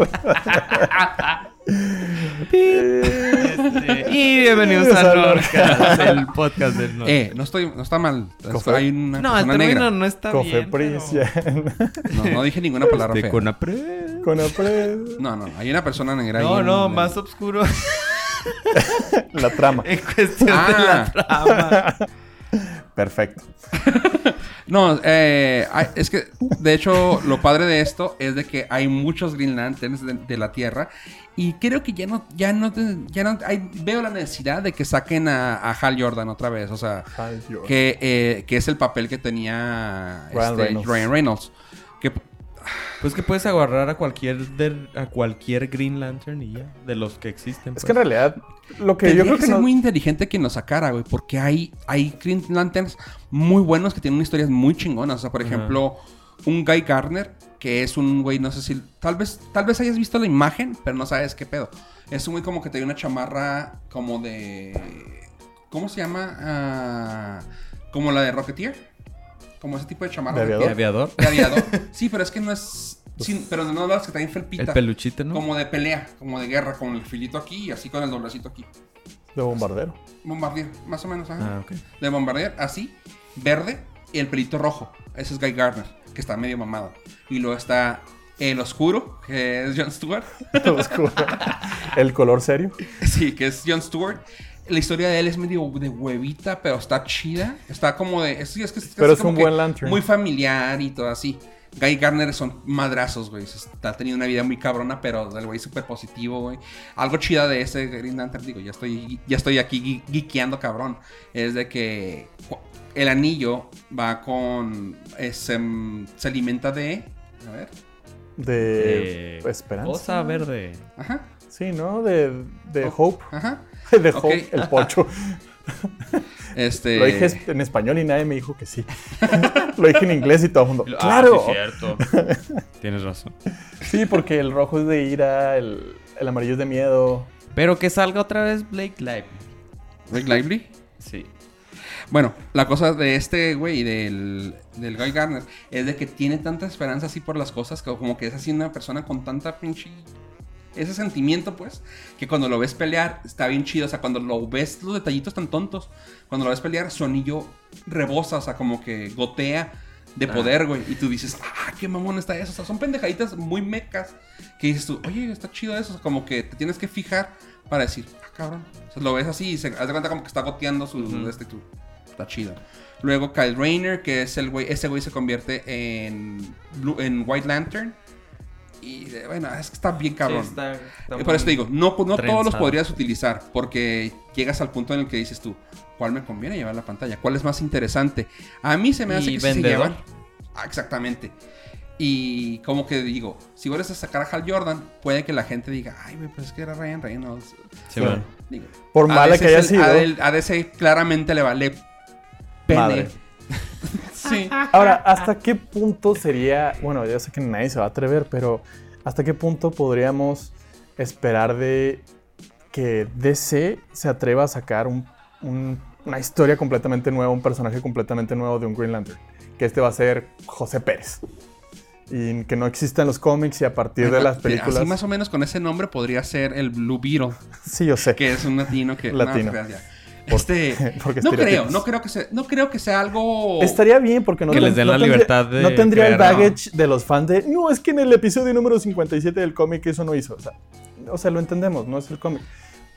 Este, Y bienvenidos
Bienvenidos
a
al
Norcas, el podcast del Norcas.
eh, no, estoy, no está mal. Es-
Cofre.
Hay una
no, el
persona
término
negra.
no está bien.
Cofepris,
pero-
ya.
No, no dije ninguna palabra
Este,
fea.
con apre-
Con Apred.
No, no, hay una persona negra ahí
No,
en-
no,
en-
más oscuro
La trama.
en cuestión de
Ah.
la trama.
Perfecto.
No, eh, hay- es que de hecho lo padre de esto es de que hay muchos Green Lanterns de, de la Tierra y creo que ya no, ya no, te- ya no, hay- veo la necesidad de que saquen a, a Hal Jordan otra vez, o sea,
Ay, Dios.
que, eh, que es el papel que tenía este,
Ryan
Ryan,
Reynolds.
Reynolds. Que
Pues que puedes agarrar a cualquier del- a cualquier Green Lantern y ya, de los que existen.
Es
pues.
que en realidad, lo que
tendría
yo creo
que
que
ser
no-
muy inteligente quien lo sacara, güey, porque hay, hay Green Lanterns muy buenos que tienen historias muy chingonas. O sea, por
Ajá.
ejemplo, un Guy Garner, que es un güey, no sé si. Tal vez, tal vez hayas visto la imagen, pero no sabes qué pedo. Es un güey como que tiene una chamarra como de. ¿Cómo se llama? Ah, como la de Rocketeer. Como ese tipo de chamarra.
¿De
¿De
aviador?
aviador.
De aviador. sí, pero es que no es. sí, pero no las que traen
El
felpita.
peluchito, ¿no?
Como de pelea, como de guerra, con el filito aquí y así con el doblecito aquí.
De bombardero.
Bombardier, más o menos, ajá.
Ah,
Eh,
ok.
De Bombardier, así, verde, y el pelito rojo. Ese es Guy Gardner, que está medio mamado. Y luego está el oscuro, que es Jon Stewart.
Oscuro. El color serio.
sí, que es Jon Stewart. La historia de él es medio de huevita, pero está chida. Está como de... Es, sí, es que es,
Pero es
como
un
que
buen Lantern.
Muy familiar y todo así. Guy Gardner son madrazos, güey. Se Está teniendo una vida muy cabrona, pero el güey es súper positivo, güey. Algo chida de ese Green Lantern, digo, ya estoy, ya estoy aquí gui- geekeando, cabrón. Es de que cu- el anillo va con... es, em, se alimenta de... A ver.
De.
Eh,
pues, Esperanza.
Cosa verde.
Ajá,
Sí, ¿no? De, de Hope.
ajá.
De
Ok.
Hope, el pocho.
Este...
Lo dije es- en español y nadie me dijo que sí. Lo dije en inglés y todo el mundo.
Ah,
Oh, ¡Claro!
sí, cierto. Tienes razón.
Sí, porque el rojo es de ira, el, el amarillo es de miedo.
Pero que salga otra vez Blake Live.
Rick Lively.
Sí.
Bueno, la cosa de este güey, del, del Guy Garner, es de que tiene tanta esperanza así por las cosas, que como que es así una persona con tanta pinche... Ese sentimiento, pues, que cuando lo ves pelear está bien chido. O sea, cuando lo ves, los detallitos tan tontos. Cuando lo ves pelear, su anillo rebosa, o sea, como que gotea de poder, güey. Y tú dices, ah, qué mamón está eso. O sea, son pendejaditas muy mecas que dices tú, oye, está chido eso. O sea, como que te tienes que fijar para decir, ah, cabrón. O sea, lo ves así y se haz de cuenta como que está goteando su. este, tú. Está chido. Luego Kyle Rayner, que es el güey. Ese güey se convierte en, Blue- en White Lantern. Y eh, bueno, es que está bien cabrón. Eh, Por eso te digo, no, no todos los
trenzado.
podrías utilizar, porque llegas al punto en el que dices tú, ¿cuál me conviene llevar a la pantalla? ¿Cuál es más interesante? A mí se me hace
Y
que sí se
vendedor.
llevan. Ah, exactamente. Y como que digo, si vuelves a sacar a Hal Jordan, puede que la gente diga, ay, güey, pues es que era Ryan Reynolds.
Sí, bueno.
Digo,
Por
a
mala
veces
que haya
el-
sido.
A, el- a DC claramente le vale pene.
Madre.
sí.
Ahora, ¿hasta qué punto sería, bueno, yo sé que nadie se va a atrever, pero ¿hasta qué punto podríamos esperar de que DC se atreva a sacar un- un- una historia completamente nueva, un personaje completamente nuevo de un Green Lantern? Que este va a ser José Pérez. Y que no exista en los cómics y a partir de
Así
las
más
películas.
o menos con ese nombre podría ser el Blue Beetle.
Sí, yo sé.
que es un latino que
Latino.
No, pues, gracias.
Por-
este,
porque
no creo,
estereotipos.
no creo que sea, no creo que sea algo
Estaría bien porque no,
Que
ten-
les den
no
la
tendría-
libertad de
no tendría el
crear, ¿no?
baggage de los fans de no, es que en el episodio número 57 del cómic eso no hizo. O sea, o sea, lo entendemos, no es el cómic.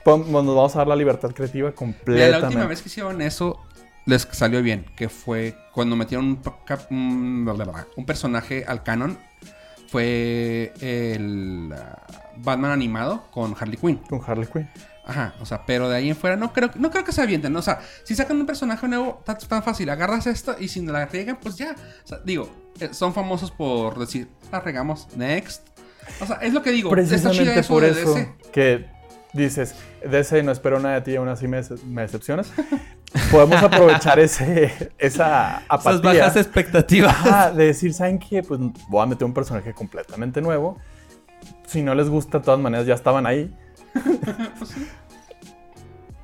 Pon- Nos vamos a dar la libertad creativa
Mira,
completamente.
la última vez que hicieron eso les salió bien, que fue cuando metieron un, pa- cap- un- bla, bla, bla, un personaje al canon fue el ah, Batman animado con Harley Quinn.
Con Harley Quinn.
Ajá, o sea, pero de ahí en fuera no creo, no creo que se avienten, ¿no? O sea, si sacan un personaje nuevo, tan, tan fácil, agarras esto y si la riegan, pues ya. O sea, digo, eh, son famosos por decir, la regamos, next. O sea, es lo que digo, está chida
Precisamente
eso
por
de
eso
DC.
que dices, DC no espero nada de ti y aún así me, dece- me decepcionas, podemos aprovechar ese, esa
Esas
apatía.
bajas expectativas.
Ajá, Ah, de decir, ¿saben qué? Pues voy a meter un personaje completamente nuevo. Si no les gusta, de todas maneras ya estaban ahí.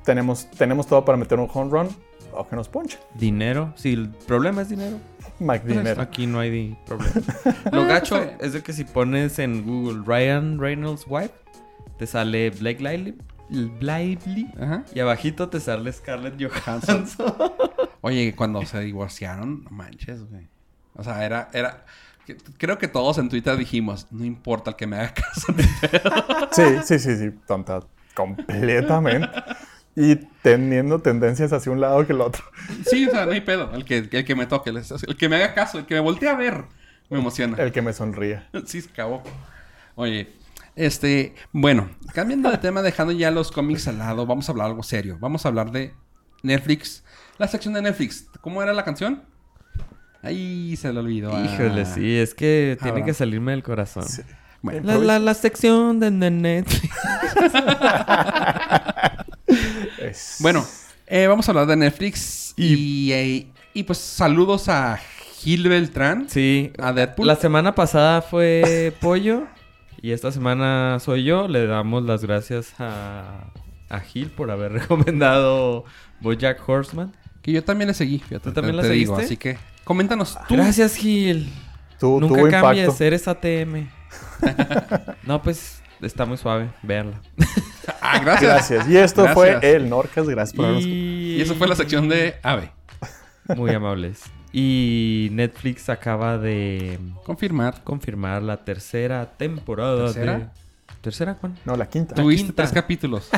tenemos, tenemos todo para meter un home run o que nos ponche.
Dinero. Si el problema es dinero,
Mac
pues,
Dinero.
aquí no hay di- problema.
Ah,
Lo gacho
está bien.
es de que si pones en Google Ryan Reynolds Wife, te sale Blake Lively. Lively
Ajá.
y abajito te sale Scarlett Johansson.
Oye, cuando se divorciaron, no manches, güey. O sea, era, era. que- Creo que todos en Twitter dijimos, no importa el que me haga caso.
Sí, sí, sí, sí. Tonta. Completamente. Y teniendo tendencias hacia un lado que el otro.
sí, o sea, no hay pedo. El que, el que me toque, el, el que me haga caso, el que me voltee a ver, me emociona.
El que me sonríe.
Sí, se acabó. Oye, este, bueno, cambiando de tema, dejando ya los cómics al lado, vamos a hablar algo serio. Vamos a hablar de Netflix. La sección de Netflix. ¿Cómo era la canción? Ahí se lo olvidó. ah.
Híjole, sí, es que tiene
Habrá.
que salirme del corazón.
Bueno,
La, la, la sección de Netflix.
Es-
bueno, eh, vamos a hablar de Netflix. Y, eh, y, pues saludos a Gil Beltrán,
Sí,
a Deadpool.
La semana pasada fue Pollo y esta semana soy yo. Le damos las gracias a, a Gil por haber recomendado Bojack Horseman.
Que yo también le seguí, fíjate.
¿Tú también la
te- te digo,
seguiste? Ah,
así que coméntanos tú.
Gracias, Gil.
Tu-
Nunca
tuvo
cambies, eh.
impacto.
eres ATM. no, pues está muy suave, véanla.
Ah, gracias.
Gracias. Y esto
Gracias.
fue el Norcas. Gracias por habernos
Y...
Y esa fue la sección de Ave.
Muy amables. Y Netflix acaba de
Confirmar.
confirmar la tercera temporada de...
¿Tercera?
¿Tercera, Juan?
No, la quinta.
Tuviste
quinta.
tres capítulos.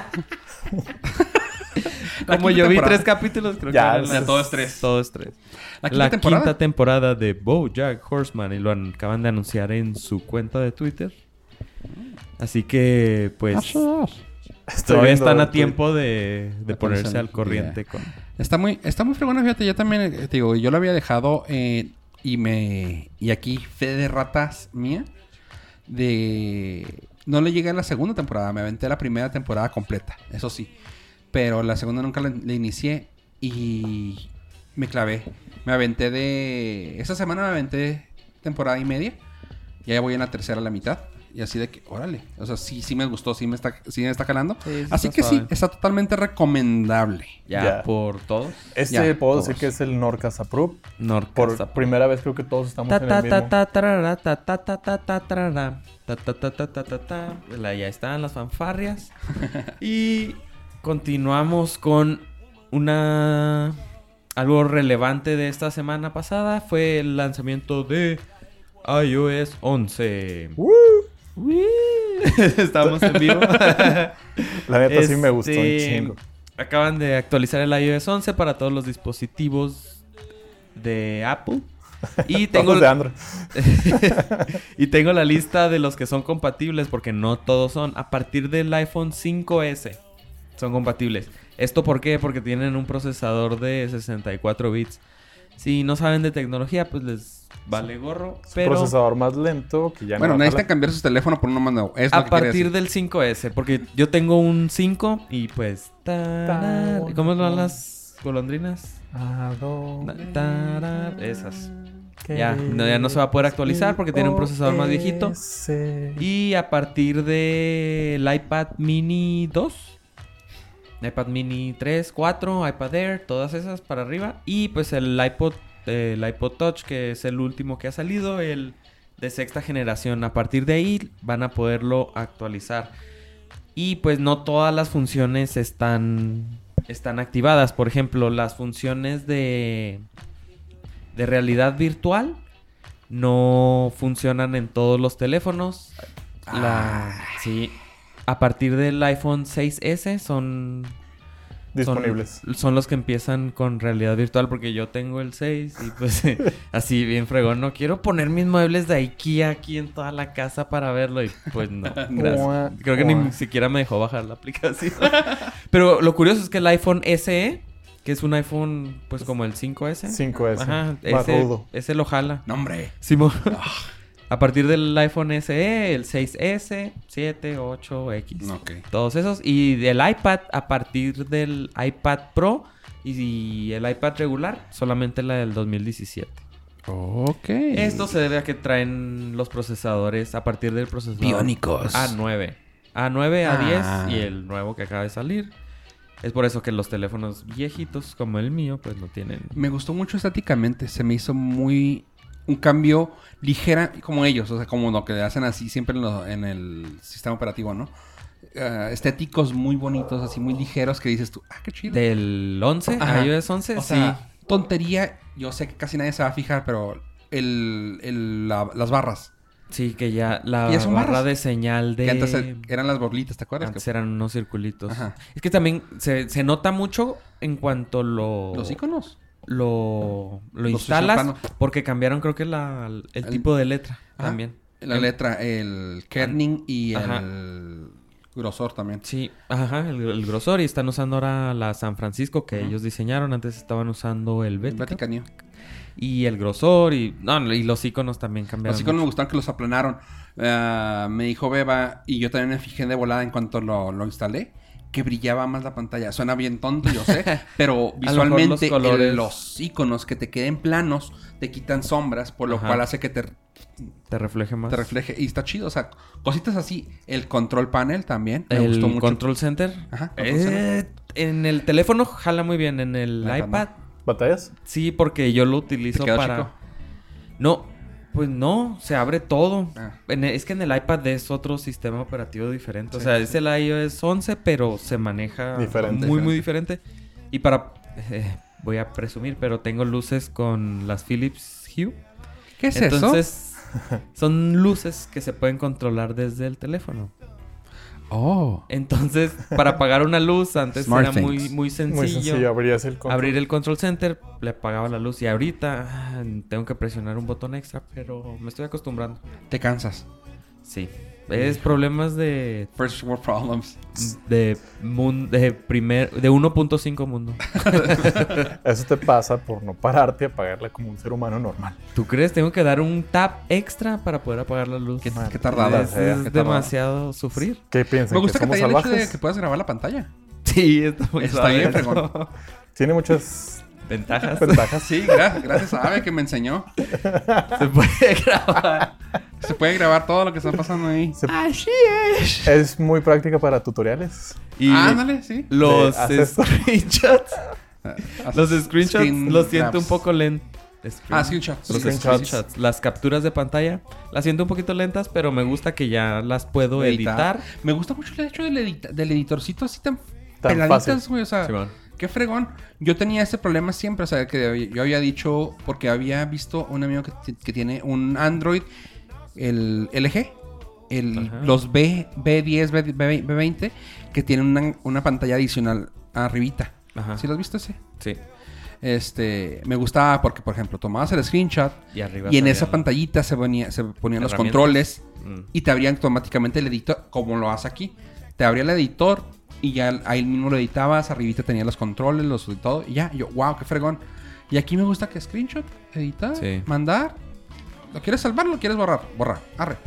La
Como
quinta
yo vi
temporada.
tres capítulos, creo
Ya,
que eran
o sea,
las-
todo es tres.
Todo es tres.
La quinta temporada.
temporada de BoJack Horseman y lo an- acaban de anunciar en su cuenta de Twitter. Así que,
Ah,
Ah,
pues,
Estoy
todavía
viendo
están a
tu-
tiempo de, de
La
ponerse
ponerse
al
al
corriente con...
Está muy, está muy fregona, fíjate, yo también, eh, te digo, yo lo había dejado eh, y me, y aquí, fe de ratas mía, de, no le llegué a la segunda temporada, me aventé la primera temporada completa, eso sí, pero la segunda nunca la, la inicié y me clavé, me aventé de, esta semana me aventé temporada y media, ya voy en la tercera, la mitad. Y así de que, órale, o sea, sí, sí me gustó, sí me está, sí me está calando.
Sí, sí
así
está
que sí,
suave.
está totalmente recomendable.
Ya,
Ya.
por todos.
Este
Ya,
puedo
todos.
decir que es el Norcas Approve.
Norcas
Por
Approve.
primera vez creo que todos estamos
Ta,
en
ta,
el
ta,
mismo.
ta, tarara, ta, ta, ta, ta, ta, tarara, ta, ta, ta, ta, ta, ta, ta. La- Ya están las fanfarrias. Y continuamos con una... Algo relevante de esta semana pasada fue el lanzamiento de iOS 11. Uy. Estamos en vivo.
La neta sí me gustó un
Este,
chingo.
Acaban de actualizar el iOS 11 para todos los dispositivos de Apple. Y tengo,
Todos de Android.
y tengo la lista de los que son compatibles, porque no todos son. A partir del iPhone 5S son compatibles. ¿Esto por qué? Porque tienen un procesador de 64 bits. Si no saben de tecnología, pues les vale gorro.
Es un
Pero
procesador más lento que ya
Bueno,
no va a
necesitan
jalar.
cambiar su teléfono por uno más nuevo. Es lo
a
que quería
partir
decir.
del 5S, porque yo tengo un 5 y pues... tará, ¿Cómo son las golondrinas?
¿A
Na-
dónde
tará, esas. Ya, no- ya no se va a poder actualizar porque tiene un procesador más viejito.
IOS.
Y a partir del iPad mini 2, iPad mini 3, 4, iPad Air, todas esas para arriba. Y pues el iPod, eh, el iPod Touch, que es el último que ha salido, el de sexta generación. A partir de ahí van a poderlo actualizar. Y pues no todas las funciones están, están activadas. Por ejemplo, las funciones de, de realidad virtual no funcionan en todos los teléfonos. La, sí. A partir del iPhone 6S son son-
Disponibles.
Son, los que empiezan con realidad virtual porque yo tengo el 6 y pues así bien fregón. No quiero poner mis muebles de IKEA aquí en toda la casa para verlo y pues no.
Ua,
gracias. Creo que
ua.
ni siquiera me dejó bajar la aplicación. Pero lo curioso es que el iPhone SE, que es un iPhone pues como el 5S.
5S.
Ajá,
E. más
ese,
rudo. Ah.
ese E lo jala.
No, hombre.
Simón. A partir del iPhone SE, el 6S, 7, 8, X.
Ok.
Todos esos. Y del iPad, a partir del iPad Pro y, y el iPad regular, solamente la del 2017.
Ok.
Esto se debe a que traen los procesadores a partir del procesador
Biónicos.
Ah,
A9. A9,
Ah.
A10 y el nuevo que acaba de salir. Es por eso que los teléfonos viejitos como el mío pues no tienen...
Me gustó mucho estáticamente. Se me hizo muy. Un cambio ligera, como ellos, o sea, como lo que hacen así siempre en, lo- en el sistema operativo, ¿no? Ah, estéticos muy bonitos, así muy ligeros, que dices tú, ah, qué chido.
Del 11,
Ajá.
iOS 11,
O
sí.
sea, tontería, yo sé que casi nadie se va a fijar, pero el, el- la- las barras.
Sí, que ya la
¿Ya son
barra
barras?
de señal de...
Que antes er- eran las borlitas, ¿te acuerdas?
Antes
Que-
eran unos circulitos.
Ajá.
Es que también se, se nota mucho en cuanto lo...
Los iconos.
Lo, lo
Los
instalas
isoplanos.
porque cambiaron creo que la, el,
El-
tipo de letra
Ajá.
también.
La letra, el kerning y
Ajá.
el grosor también.
Sí, ajá, el, el grosor y están usando ahora la San Francisco que
Ujú.
ellos diseñaron, antes estaban usando el Vatican,
Vaticanio.
y el grosor y no, y los iconos también cambiaron.
Los iconos me
mucho.
gustaron que los aplanaron. Ah, me dijo Beba, y yo también me fijé de volada en cuanto lo, lo instalé, que brillaba más la pantalla. Suena bien tonto, yo sé, pero
mejor los
visualmente el- los,
colores.
iconos que te queden planos te quitan sombras, por lo
Ajá.
cual hace que te, te
te refleje más.
refleje. Y está chido, o sea, cositas así. El control panel también me
el
gustó mucho.
control center.
Ajá,
Eh,
control center.
en el teléfono jala muy bien, en el
La
iPad,
iPad no.
¿Batallas?
sí, porque yo lo
¿Te
utilizo
quedó
para
chico?
No, pues no, se abre todo.
Ah.
En- e, es que en el iPad es otro sistema operativo diferente.
Sí,
o sea,
sí.
es el iOS 11, pero se maneja
Diferente.
muy, muy diferente. Y para... eh, voy a presumir, pero tengo luces con las Philips Hue.
¿Qué es eso?
Entonces, son luces que se pueden controlar desde el teléfono.
Oh.
Entonces, para apagar una luz antes
Smart
era muy,
things.
muy sencillo.
Muy sencillo, abrías el control.
Abrir el control center, le apagaba la luz y ahorita ah, tengo que presionar un botón extra, pero me estoy acostumbrando.
Te cansas.
Sí. Es problemas de.
First world problems.
De, mun- de primer. De 1.5 mundo.
Eso te pasa por no pararte y apagarla como un ser humano normal.
¿Tú crees? Tengo que dar un tap extra para poder apagar la luz.
Qué,
Es,
Madre
qué tardada.
mía, sea,
es
qué tardada.
demasiado sufrir.
¿Qué piensan?
Me gusta
¿Que
que, te
somos
haya dicho de
salvajes?
que puedas grabar la pantalla.
Sí, está muy
Está
suave
bien,
eso.
fregón.
Tiene muchas
Ventajas.
ventajas.
Sí, gra- gracias a Ave que me enseñó.
Se puede grabar.
Se puede grabar todo lo que está pasando ahí.
Se-
Así es.
Es muy práctica para tutoriales.
Y
Ándale, sí.
los
Ah, Sí, haz eso.
screenshots. Los screenshots
Screen
los siento
Ah, grabs.
un poco lentos.
Ah, screenshots.
Los
Sí, sí, sí,
screenshots.
sí.
las capturas de pantalla, las siento un poquito lentas, pero me gusta que ya las puedo
Editar.
editar.
Me gusta mucho el hecho del, edita- del editorcito así tan,
Tan
peladitas,
fácil.
güey. O sea,
Simón.
qué fregón. Yo tenía ese problema siempre. O sea, que yo había dicho, porque había visto un amigo que, t- que tiene un Android, el LG. El,
Ajá.
los B, B10, B, 20 que tienen una, una pantalla adicional arribita.
Ajá.
¿Sí lo has visto ese?
Sí.
Este, me gustaba porque, por ejemplo, tomabas el screenshot
Y arriba.
y en
salían
esa
las-
pantallita se, ponía- se ponían los
Herramientas.
controles
Mm.
y te abrían automáticamente el editor, como lo hace aquí. Te abría el editor y ya ahí mismo lo editabas, arribita tenía los controles, los y todo, y ya, yo, wow, qué fregón. Y aquí me gusta que screenshot, editar,
Sí.
mandar. ¿Lo quieres salvar o lo quieres borrar? Borrar, arre.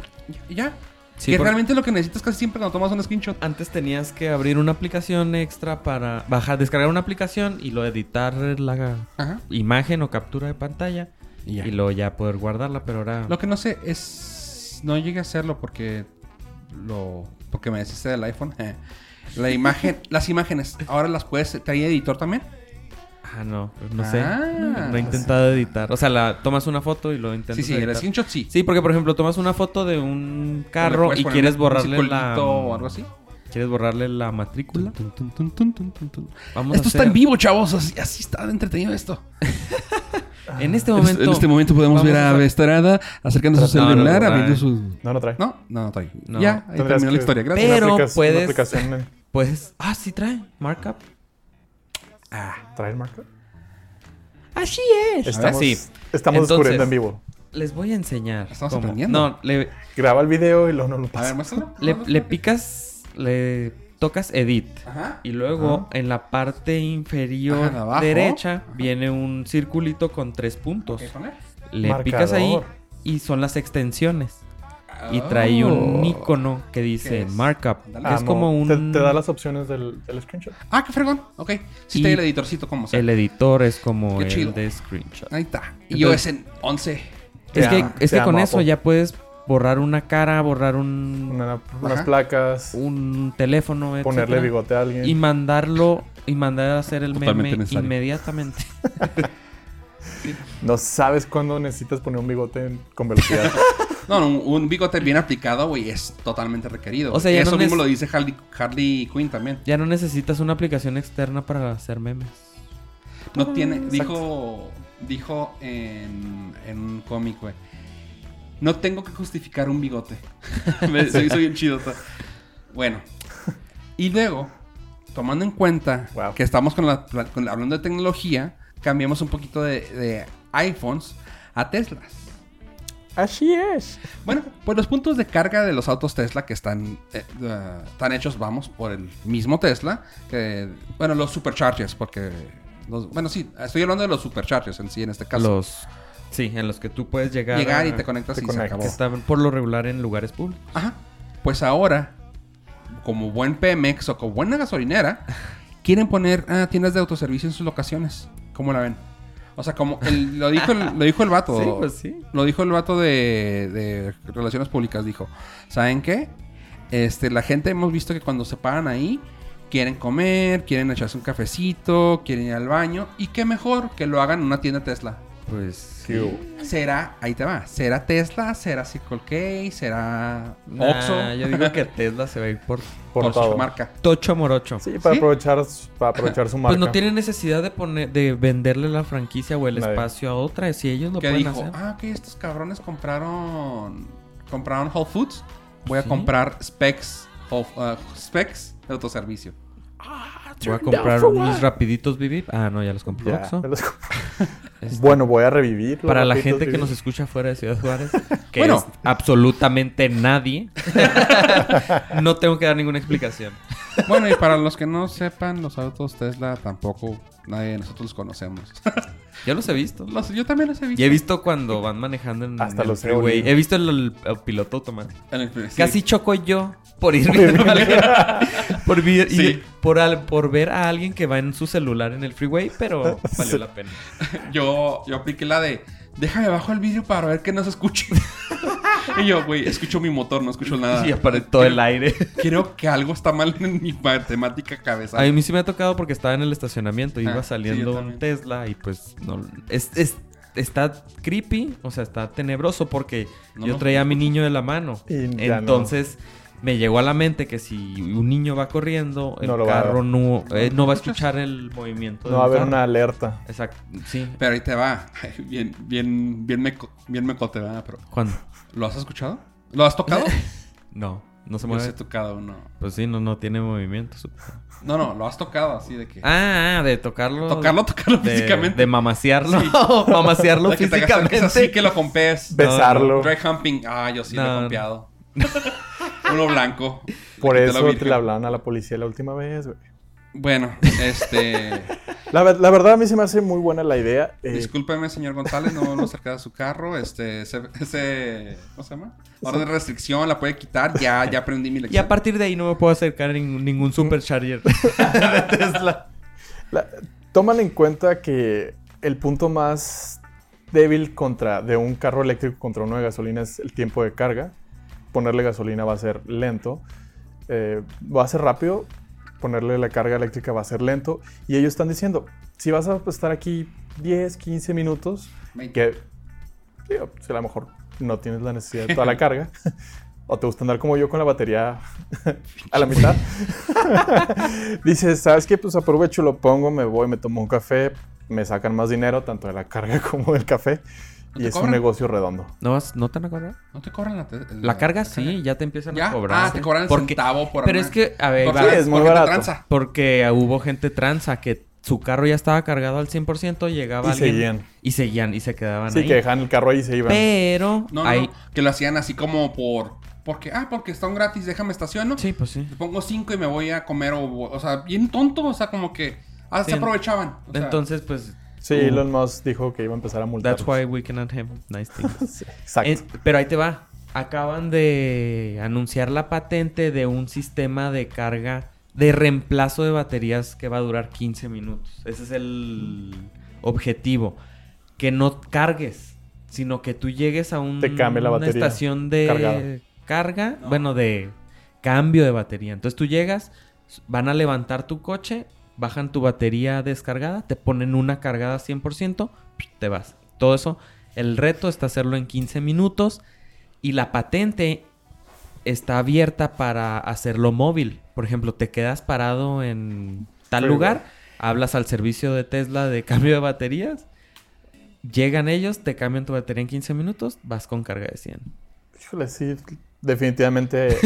Y ya.
Sí,
que
porque
realmente lo que necesitas casi siempre cuando tomas un screenshot.
Antes tenías que abrir una aplicación extra para bajar, descargar una aplicación y luego editar la
Ajá.
imagen o captura de pantalla
Y ya.
y luego ya poder guardarla, pero ahora
Lo que no sé es. No llegué a hacerlo porque. Lo. Porque me deshice del iPhone. La imagen. las imágenes. Ahora las puedes. ¿Trae editor también?
ah no, no sé.
Ah.
No he intentado editar. O sea, la tomas una foto y lo intentas
Sí, sí,
editar.
el screenshot sí.
Sí, porque por ejemplo tomas una foto de un
Le
carro
puedes
y
poner
quieres
un
borrarle la
circulito o algo así.
quieres borrarle la matrícula.
Tun, tun, tun, tun, tun, tun, tun.
Vamos
Esto
a
está en
hacer-
vivo, chavos. Así, así está entretenido esto.
En este momento.
en este momento podemos
vamos
ver a
hacer-
Bestrada acercando su
No, no, no,
celular,
no,
abriendo
no.
su.
No, no trae.
No, no, no trae.
No.
Ya, ahí
Tendrías
terminó la
que-
historia. Gracias.
Pero
Una aplicación-
puedes-
Una aplicación eh,
Pues, ah, sí trae markup.
trae el marco.
Así es.
Estamos,
sí.
estamos
Entonces-
descubriendo en vivo.
Les voy a enseñar.
Estamos
cómo.
aprendiendo.
No, le,
Graba el video y luego no lo
A ver,
pasa.
muéstralo.
le, le picas, le tocas edit.
Ajá.
Y luego
Ajá.
en la parte inferior
Ajá, abajo.
derecha
Ajá.
viene un circulito con tres puntos.
Ok, ponle.
Le picas ahí
Marcador.
y son las extensiones. Y trae un icono que dice
Oh. es?
markup.
Ándale.
que es
Ah, no.
como un...
Te, te da las opciones del, del screenshot.
Ah, qué fregón. Ok. Sí,
Y-
está ahí el editorcito como sea.
El editor es como
Qué chido.
el de screenshot.
Ahí está. Y
Entonces-
yo es en 11.
Es
Te
que,
ama,
es
te
que con
ama,
eso
Apple.
ya puedes borrar una cara, borrar un,
Una- unas
Ajá.
placas,
un teléfono,
ponerle
etcétera,
bigote a alguien.
Y mandarlo, y mandar a hacer el
Totalmente
meme
necesario.
inmediatamente.
No sabes cuándo necesitas poner un bigote en- con velocidad.
No, no, un, un bigote bien aplicado, güey, es totalmente requerido.
O
O
sea,
sea,
ya
Eso
no
mismo
neces-
lo dice Harley, Harley Quinn también.
Ya no necesitas una aplicación externa para hacer memes.
No tiene. Dijo. Dijo en, en un cómic, güey. No tengo que justificar un bigote. Me- se hizo bien chido. todo. Bueno. Y luego, tomando en cuenta
Wow.
que estamos con la, pla- con- hablando de tecnología, cambiamos un poquito de, de iPhones a Teslas.
Así es.
Bueno, pues los puntos de carga de los autos Tesla que están, eh, eh, están hechos, vamos, por el mismo Tesla, que, bueno, los superchargers, porque, los- bueno, sí, estoy hablando de los superchargers en sí, en este caso.
Los... Sí, en los que tú puedes llegar, a-
Llegar y te conectas
te
y
conectas.
Que
se acabó.
están por lo regular en lugares públicos.
Ajá. Pues ahora, como buen Pemex o como buena gasolinera, quieren poner ah, tiendas de autoservicio en sus locaciones. ¿Cómo la ven? O sea, como el- lo, dijo el, lo dijo el vato.
Sí, pues sí.
Lo dijo el vato de, de Relaciones Públicas, dijo. ¿Saben qué? Este, la gente hemos visto que cuando se paran ahí, quieren comer, quieren echarse un cafecito, quieren ir al baño. Y qué mejor que lo hagan en una tienda Tesla.
Pues...
Qué hubo.
Será, ahí te va, será Tesla, será Circle K, será
nah,
Oxxo,
yo digo que Tesla se va a ir por
Por
por
todo.
su marca.
Tocho Morocho.
Sí, para
¿Sí?
aprovechar para aprovechar su marca.
Pues no tiene necesidad de poner, de venderle la franquicia o el
Nadie.
espacio a otra. Si ellos lo
que
pueden
dijo,
hacer.
ah, que estos cabrones compraron, compraron Whole Foods, voy a
Sí.
comprar Specs, Whole- ah, Specs de autoservicio.
Voy a comprar unos rapiditos Vivip. Ah, no, ya los compré.
Ya,
Oxxo.
me los-
Este,
Bueno, voy a revivir. los
para la
ratitos
gente que
vivi-
nos escucha fuera de Ciudad Juárez, que
Bueno.
es absolutamente nadie, no tengo que dar ninguna explicación.
Bueno, y para los que no sepan, los autos Tesla tampoco nadie de nosotros los conocemos.
Ya los he visto.
Los- yo también los he visto.
Y he visto cuando van manejando en
Hasta
el
los he
freeway.
olido.
He visto el, el- el piloto automático.
En el- pues, sí.
Casi choco yo por ir viendo a alguien- por, vi- y-
Sí.
por, al- por ver a alguien que va en su celular en el freeway, pero valió la pena.
Yo, yo apliqué la de déjame bajo el vidrio para ver que no se escuche. y yo, güey, escucho mi motor, no escucho nada.
Y aparece todo el aire.
Creo que algo está mal en mi matemática cabeza.
A mí sí me ha tocado porque estaba en el estacionamiento.
Ah,
Iba
sí,
saliendo
yo
un
también.
Tesla y pues no... Es, es- está creepy, o sea, está tenebroso porque
No,
yo
no.
traía a mi niño de la mano.
Y ya no.
Entonces me llegó a la mente que si un niño va corriendo, el
No lo va a
carro
ver.
no, eh, no va a escuchar el movimiento.
No va a haber
del
una
carro.
alerta.
Exacto, sí.
Pero ahí te va. Bien, bien, bien, meco- bien mecote, ¿verdad? Pero,
¿Cuándo?
¿Lo has escuchado? ¿Lo has tocado?
No, no se
Yo sí he
mueve.
tocado uno.
Pues sí, no, no tiene movimiento. supongo.
No, no, lo has tocado así de que.
Ah, ah, de tocarlo.
tocarlo, tocarlo
de,
físicamente.
De mamaciarlo. mamaciarlo
De que te acerques
físicamente.
así que lo compees.
Besarlo.
Dry humping. Ah, yo sí
No,
lo
no.
he compeado. uno blanco.
Por
Le quité la
eso te
virgen.
le hablaban a la policía la última vez, güey.
Bueno, este.
Eh.
La, ver- la verdad a mí se me hace muy buena la idea. eh,
Discúlpeme, señor González, no vamos cerca de su carro. Este, ese, ese- ¿cómo se llama? Orden de restricción, la puede quitar. Ya, ya aprendí mi
Y
lección.
a partir de ahí no me puedo acercar a ningún, ningún supercharger de Tesla.
la- toman en cuenta que el punto más débil contra de un carro eléctrico contra uno de gasolina es el tiempo de carga. Ponerle gasolina va a ser lento, eh, va a ser rápido, ponerle la carga eléctrica va a ser lento. Y ellos están diciendo, si vas a estar aquí 10, 15 minutos,
Veinte.
que digo, si a lo mejor no tienes la necesidad de toda la carga, o te gusta andar como yo con la batería a la mitad, dices, ¿sabes qué? Pues aprovecho, lo pongo, me voy, me tomo un café, me sacan más dinero, tanto de la carga como del café,
¿No
y
te
es un
cobran?
negocio redondo.
¿No, vas- no te van a cobrar?
¿No te cobran la, te-
La, carga sí, ya te empiezan
¿Ya?
a cobrar.
Ah, te cobran el
Porque-
centavo por
Pero
una-
es que, a ver,
Porque-
va,
Sí, es muy
porque te
barato.
tranza.
porque hubo gente tranza que su carro ya estaba cargado al 100%, llegaba
Y
alguien
seguían.
y seguían y se quedaban
Sí,
ahí.
que dejan el carro ahí y se iban.
Pero
No, no,
hay...
no, que lo hacían así como por... Porque, ah, porque están gratis, déjame estaciono.
Sí, pues sí.
Le pongo cinco y me voy a comer o... O sea, bien tonto, o sea, como que... Ah,
Sí,
se aprovechaban. o sea,
Entonces, pues,
Sí, Elon Musk dijo que iba a empezar a multar.
That's why Eh, we cannot have nice things.
Exacto.
En- pero ahí te va. Acaban de anunciar la patente de un sistema de carga de reemplazo de baterías que va a durar 15 minutos. Ese es el objetivo. Que no cargues, sino que tú llegues a un-
Te cambie la
una
batería
estación de
cargada.
carga, bueno, de cambio de batería. Entonces tú llegas, van a levantar tu coche, bajan tu batería descargada, te ponen una cargada 100%, te vas. Todo eso, el reto está hacerlo en 15 minutos y la patente está abierta para hacerlo móvil. Por ejemplo, te quedas parado en tal
Freeway.
lugar, hablas al servicio de Tesla de cambio de baterías, llegan ellos, te cambian tu batería en 15 minutos, vas con carga de 100.
Híjole, sí, definitivamente.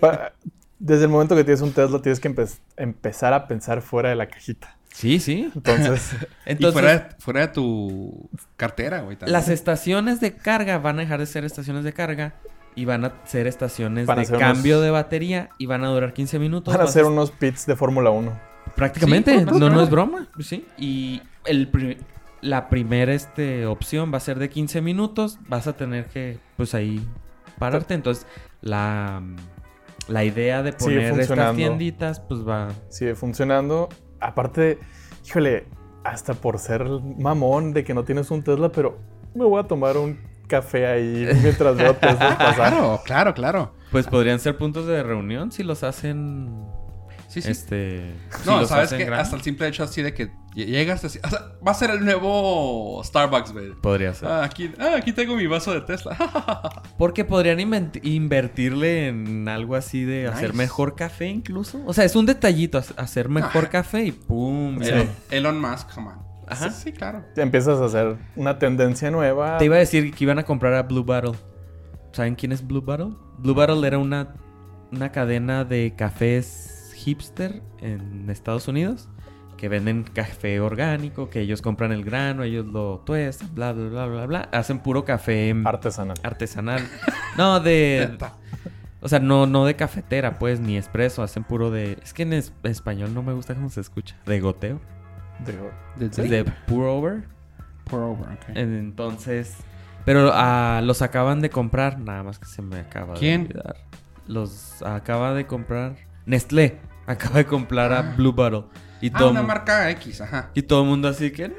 pa- desde el momento que tienes un Tesla, tienes que empe- empezar a pensar fuera de la cajita.
Sí, sí.
Entonces,
Entonces,
y fuera de, fuera de tu cartera, güey. también.
las estaciones de carga van a dejar de ser estaciones de carga y van a ser estaciones
Van a
de
ser unos-
cambio de batería y van a durar 15 minutos.
van a
vas
hacer unos pits de Fórmula 1.
Prácticamente,
Sí,
no,
no,
no
no.
es broma, sí. Y el pri- la primera este, opción va a ser de 15 minutos, vas a tener que, pues ahí, pararte. Entonces, la, la idea de
Sigue
poner estas
funcionando.
tienditas, pues va...
Sigue funcionando. Aparte, híjole, hasta por ser mamón de que no tienes un Tesla, pero me voy a tomar un café ahí mientras veo Teslas pasar.
Claro, claro, claro.
Pues podrían ser puntos de reunión si los hacen...
Sí, sí.
Este... si
No,
los
sabes
hacen
que
grandes.
hasta el simple hecho así de que lle- llegas así. O sea, va a ser el nuevo Starbucks, güey.
Podría ser.
Ah, aquí, ah, aquí tengo mi vaso de Tesla.
Porque podrían invent- invertirle en algo así de hacer
Nice.
mejor café incluso. O sea, es un detallito hac- hacer mejor
Ah.
café y ¡pum! ya.
Elon, Elon Musk, come on.
Ajá.
Sí, sí, claro.
Empiezas a hacer una tendencia nueva.
Te iba a decir que iban a comprar a Blue Bottle. ¿Saben quién es Blue Bottle? Blue Bottle era una, una cadena de cafés hipster en Estados Unidos que venden café orgánico, que ellos compran el grano, ellos lo tuestan, bla, bla, bla, bla, bla. Hacen puro café
artesanal.
artesanal. No, de...
Neta.
O sea, no, no de cafetera, pues, ni expreso. Hacen puro de... Es que en es- español no me gusta cómo se escucha. De goteo.
Digo,
De Eh, pour over.
Pour over, ok.
Entonces, pero ah, los acaban de comprar, nada más que se me acaba
¿Quién?
de olvidar. Los acaba de comprar Nestlé, acaba de comprar a
Ah.
Blue Bottle y
Ah,
todo
una
mu-
marca X, ajá.
y todo el mundo así que no.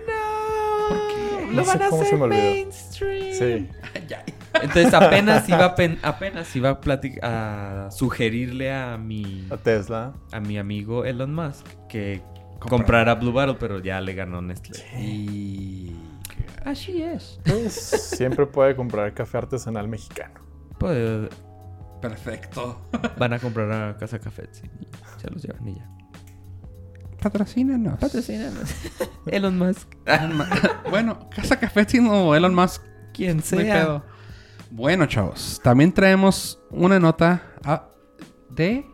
¿Por
No sé cómo se me olvidó.
mainstream.
sí.
Ya.
Entonces apenas iba a pen- apenas iba a, plati- a sugerirle a mi
A Tesla.
a mi amigo Elon Musk que
Comprar.
comprara Blue Bottle, pero ya le ganó Nestlé.
Y...
Así es.
Pues, siempre puede comprar café artesanal mexicano.
Pues
Perfecto.
Van a comprar a Casa Café. sí, y Se los llevan y ya.
Patrocínanos.
Patrocínanos. Elon Musk.
Elon Mu- bueno, Casa Café o Elon Musk.
Quien
No hay
sea.
pedo. Bueno, chavos. También traemos una nota ah, de...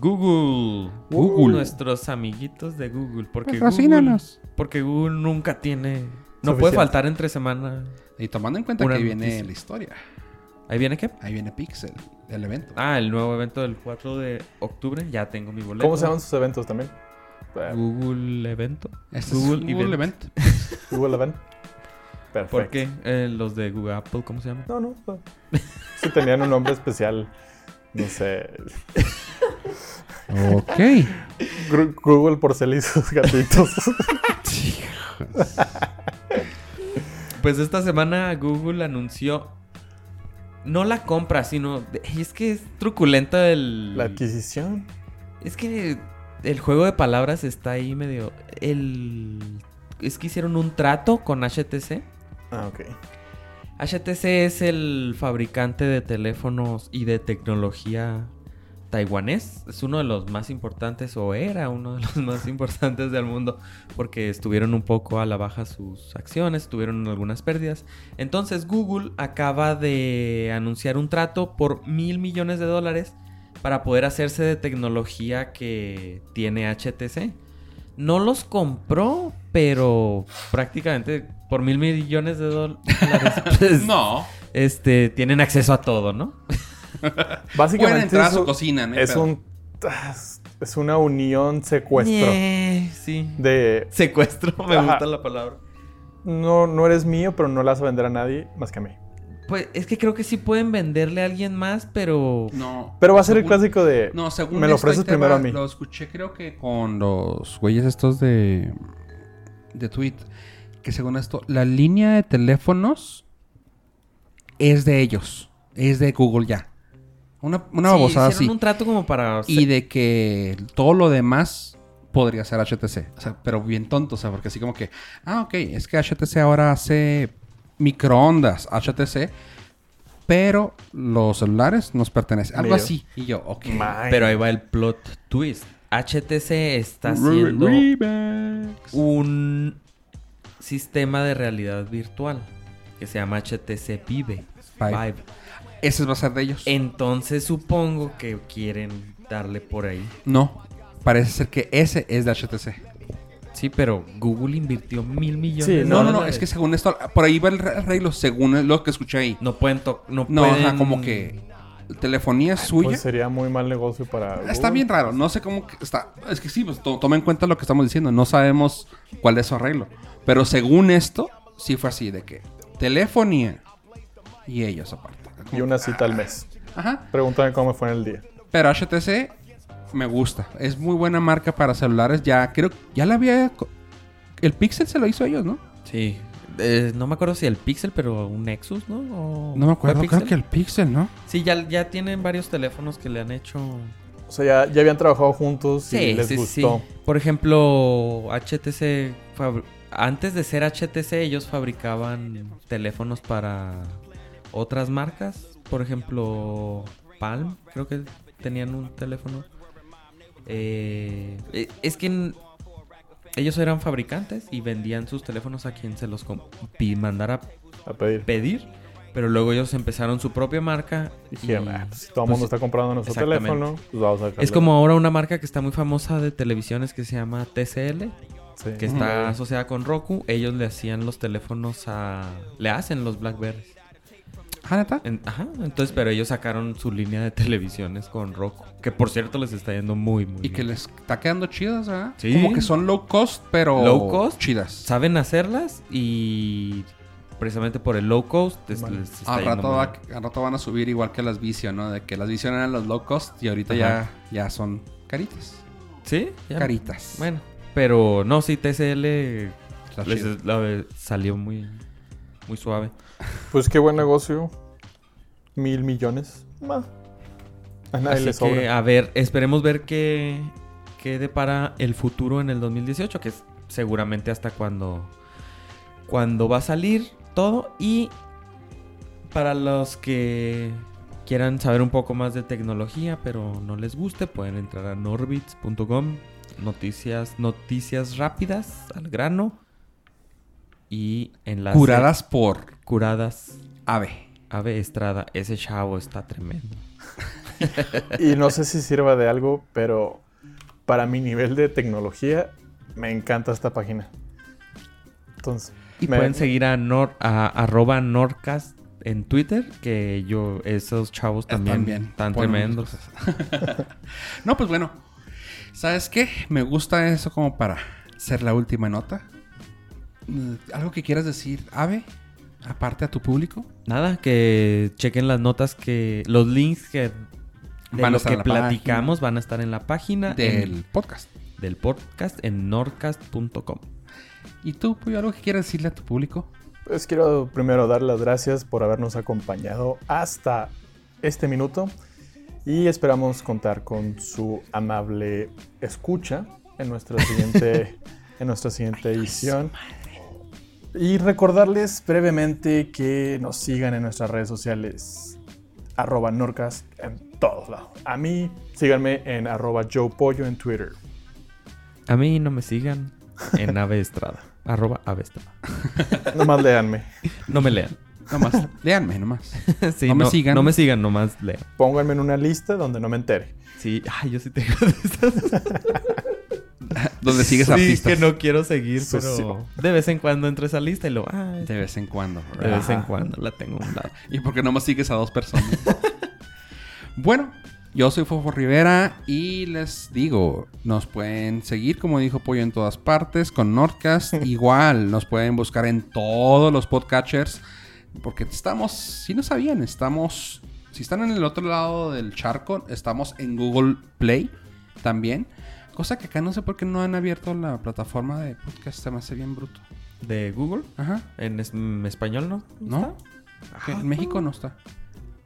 Google.
Google.
Nuestros amiguitos de Google.
pues,
Porque Google,
Patrocínanos.
porque Google nunca tiene. No
Suficiente.
puede faltar entre semana.
Y tomando en cuenta
Una
que viene
noticia.
la historia.
¿Ahí viene qué?
Ahí viene Pixel, el evento.
Ah, el nuevo evento del 4 de octubre. Ya tengo mi boleto.
¿Cómo se llaman sus eventos también? Eh,
Google Evento.
Este
Google
es Google
Event.
Event.
Google Event. Perfecto.
¿Por qué? Eh, los de Google Apple, ¿cómo se llaman?
No, no. no. Si tenían un nombre especial. No sé.
Ok.
Gru- Google Porcel y sus gatitos.
Pues esta semana Google anunció. No la compra, sino. de- Es que es truculenta el.
La adquisición.
Es que el juego de palabras está ahí medio. El. Es que hicieron un trato con HTC.
Ah, ok.
HTC es el fabricante de teléfonos y de tecnología taiwanés. Es uno de los más importantes, o era uno de los más importantes del mundo, porque estuvieron un poco a la baja sus acciones, tuvieron algunas pérdidas. Entonces Google acaba de anunciar un trato por mil millones de dólares para poder hacerse de tecnología que tiene HTC. No los compró, pero prácticamente por mil millones de dólares. pues,
No.
Este, tienen acceso a todo, ¿no?
Pueden
Básicamente
entrar a
es,
su
un-
cocina, no hay
es
pedo.
un. Es una unión secuestro.
Ñe, sí.
De.
Secuestro, me
Ajá.
gusta la palabra.
no, no eres mío, pero no la vas a vender a nadie más que a mí.
Pues es que creo que sí pueden venderle a alguien más, pero.
No.
Pero va a ser el
según-
clásico de.
No, según
Me lo
esto,
ofreces
ahí te
primero
va,
a mí.
Lo escuché creo que con los güeyes estos de de tweet que según esto la línea de teléfonos es de ellos, es de Google ya. Una una
Sí,
babosada
hicieron
así
un trato como para.
y de que todo lo demás podría ser HTC, o sea, pero bien tonto, o sea, porque así como que, ah, ok, es que HTC ahora hace microondas, HTC, pero los celulares nos pertenecen, algo
Mío.
así. Y yo, ok.
Mae.
Pero ahí va el plot twist. HTC está haciendo un sistema de realidad virtual que se llama HTC Vive.
Vive.
Vive.
Ese va a ser de ellos.
Entonces supongo que quieren darle por ahí.
No, parece ser que ese es de HTC.
Sí, pero Google invirtió mil millones.
Sí,
de
No, no, no,
dólares.
es que según esto, por ahí va el re- arreglo, según lo que escuché ahí.
no pueden to- no,
No,
pueden-
ajá, como que telefonía suya.
Pues uh. sería muy mal negocio para.
Ah, Está
Google.
bien raro, no sé cómo que está. Es que sí, pues to- toma en cuenta lo que estamos diciendo, no sabemos cuál es su arreglo. Pero según esto, sí fue así, de que telefonía y ellos aparte.
Y una cita al mes.
Ajá.
Pregúntame cómo me fue en el día.
Pero HTC me gusta. Es muy buena marca para celulares. Ya creo ya la había. co- El Pixel se lo hizo ellos, ¿no?
Sí. Eh, no me acuerdo si el Pixel, pero un Nexus, ¿no? O-
No me
¿fue
acuerdo. Creo
Pixel?
que el Pixel, ¿no?
Sí, ya, ya tienen varios teléfonos que le han hecho.
O sea, ya, ya habían trabajado juntos y les gustó.
Por ejemplo, HTC. fabri- Antes de ser HTC, ellos fabricaban teléfonos para otras marcas. Por ejemplo, Palm, creo que tenían un teléfono. Eh, eh, es que en- ellos eran fabricantes y vendían sus teléfonos a quien se los com- pi- mandara
A pedir.
pedir. Pero luego ellos empezaron su propia marca.
Dijeron,
y-
"Ah, pues, si todo el
pues,
mundo está comprando nuestro
exactamente.
teléfono, pues vamos a dejarlo.
Es como ahora una marca que está muy famosa de televisiones que se llama TCL,
Sí.
que está asociada con Roku. Ellos le hacían los teléfonos a... Le hacen los Blackberries.
Ah, neta.
En- Ajá, entonces, pero ellos sacaron su línea de televisiones con Roku. Que por cierto les está yendo muy, muy
Y que
bien.
les está quedando chidas, ¿verdad?
Sí.
Como que son low cost, pero.
Low cost.
Chidas.
Saben hacerlas y precisamente por el low cost es-
Vale.
les está
Al
yendo
rato,
muy
va-
bien.
al rato van a subir igual que las Vision, ¿no? De que las Vision eran los low cost y ahorita
Ajá.
ya, ya son caritas.
¿Sí? ya.
Caritas.
Bueno, pero no, sí, TCL
Está
les-
chido.
la- salió muy, muy suave.
Pues qué buen negocio. Mil millones. Ma. A nadie
Así
le
que,
sobra.
a ver, esperemos ver qué, qué depara el futuro en el 2018, que es seguramente hasta cuando, cuando va a salir todo. Y para los que quieran saber un poco más de tecnología, pero no les guste, pueden entrar a norbits.com. Noticias, noticias rápidas, al grano. Y enlace...
Curadas por
Curadas.
ave.
Ave Estrada, ese chavo está tremendo. ah.
Y no sé si sirva de algo, pero para mi nivel de tecnología, me encanta esta página. Entonces,
Y
me-
pueden seguir a, nor, a arroba Norcast en Twitter, que yo, esos chavos también están
ponen
tremendos.
cosas. no, pues bueno. ¿Sabes qué? Me gusta eso como para ser la última nota. Mm, ¿Algo que quieras decir, Ave? Aparte a tu público.
Nada, que chequen las notas que, los links que de
Van a
lo que
estar en la página.
platicamos van a estar en la página
Del
en-
podcast.
del podcast en norcast.com.
¿Y tú, Puyo, algo que quieras decirle a tu público?
Pues quiero primero dar las gracias por habernos acompañado hasta este minuto y esperamos contar con su amable escucha en nuestra siguiente, en nuestra siguiente edición. Y recordarles brevemente que nos sigan en nuestras redes sociales arroba Norcast en todos lados. A mí, síganme en arroba Joe Pollo en Twitter.
A mí no me sigan en Ave Estrada, arroba Ave Estrada.
Nomás leanme.
No me lean.
Nomás. Léanme, nomás.
Sí,
No me sigan.
No me sigan, nomás lean.
Pónganme en una lista donde no me entere.
Sí, ay, yo sí tengo de esas.
Donde sigues
sí,
artistas.
que no quiero seguir,
Eso
pero de vez en cuando entro a esa lista y lo... Ah,
De vez en cuando.
de
¿verdad?
vez en cuando la tengo a un lado.
¿Y porque nomás sigues a dos personas? bueno, Yo soy Fofo Rivera y les digo, nos pueden seguir, como dijo Pollo, en todas partes, con Nordcast. Igual, nos pueden buscar en todos los podcatchers, porque estamos, si no sabían, estamos, si están en el otro lado del charco, estamos en Google Play también. Cosa que acá no sé por qué no han abierto la plataforma de podcast, se me hace bien bruto.
¿De Google?
Ajá,
En, es- en español, ¿no?
¿no? Que En México no está.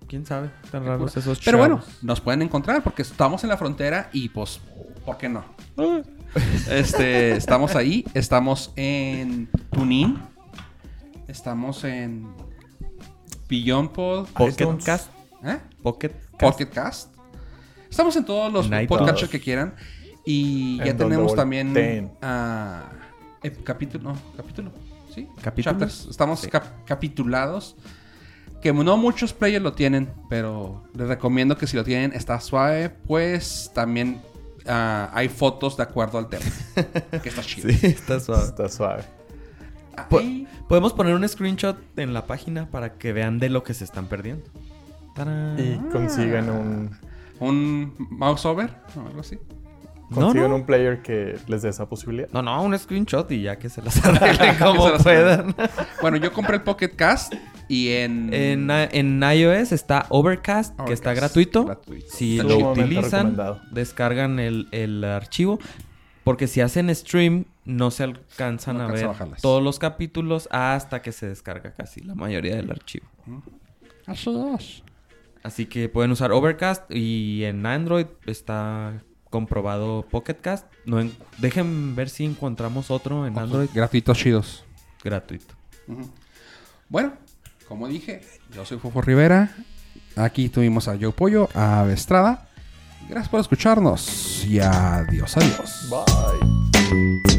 ¿Quién sabe? Tan raros esos
Pero bueno,
chavos.
nos pueden encontrar porque estamos en la frontera y pues, ¿por qué no? Este, estamos ahí, estamos en Tunin, estamos en Beyond Pod,
Pocket
iTunes.
Cast.
¿eh?
Pocket Cast.
Pocket Cast. Estamos en todos los
En iTunes.
podcasts que quieran y ya
En
tenemos
donde
también
volteen.
ah, eh, capítulo, no, capítulo, sí,
Capítulo.
Chapters. Estamos
Sí.
cap- capitulados. Que no muchos players lo tienen, pero les recomiendo que si lo tienen, está suave. Pues también ah, hay fotos de acuerdo al tema. que está chido.
Sí, Pues, está suave.
Está suave.
Po-
Ahí-
Podemos poner un screenshot en la página para que vean de lo que se están perdiendo. ¡Tarán!
Y consigan un,
un mouse over o algo así.
No,
consigan
no.
un player que les dé esa posibilidad.
No, no, un screenshot y ya que se las arreglen
Que
como
se las
puedan.
Bueno, yo compré el Pocket Cast y en.
En, ah, en iOS está Overcast, que está
Mm. Overcast,
gratuito.
gratuito.
Si
Está
lo
chido.
utilizan,
Recomendado.
descargan el, el archivo. Porque si hacen stream, no se alcanzan
No
a
alcanzan a
ver
bajarlas.
todos los capítulos hasta que se descarga casi la mayoría del archivo. Así que pueden usar Overcast y en Android está comprobado Pocketcast. No en- dejen ver si encontramos otro en Android
Gratuitos chidos.
gratuito.
Ujú. Bueno, como dije, yo soy Fofo Rivera. Aquí tuvimos a Joe Pollo, a Vestrada. Gracias por escucharnos y adiós, adiós.
Bye.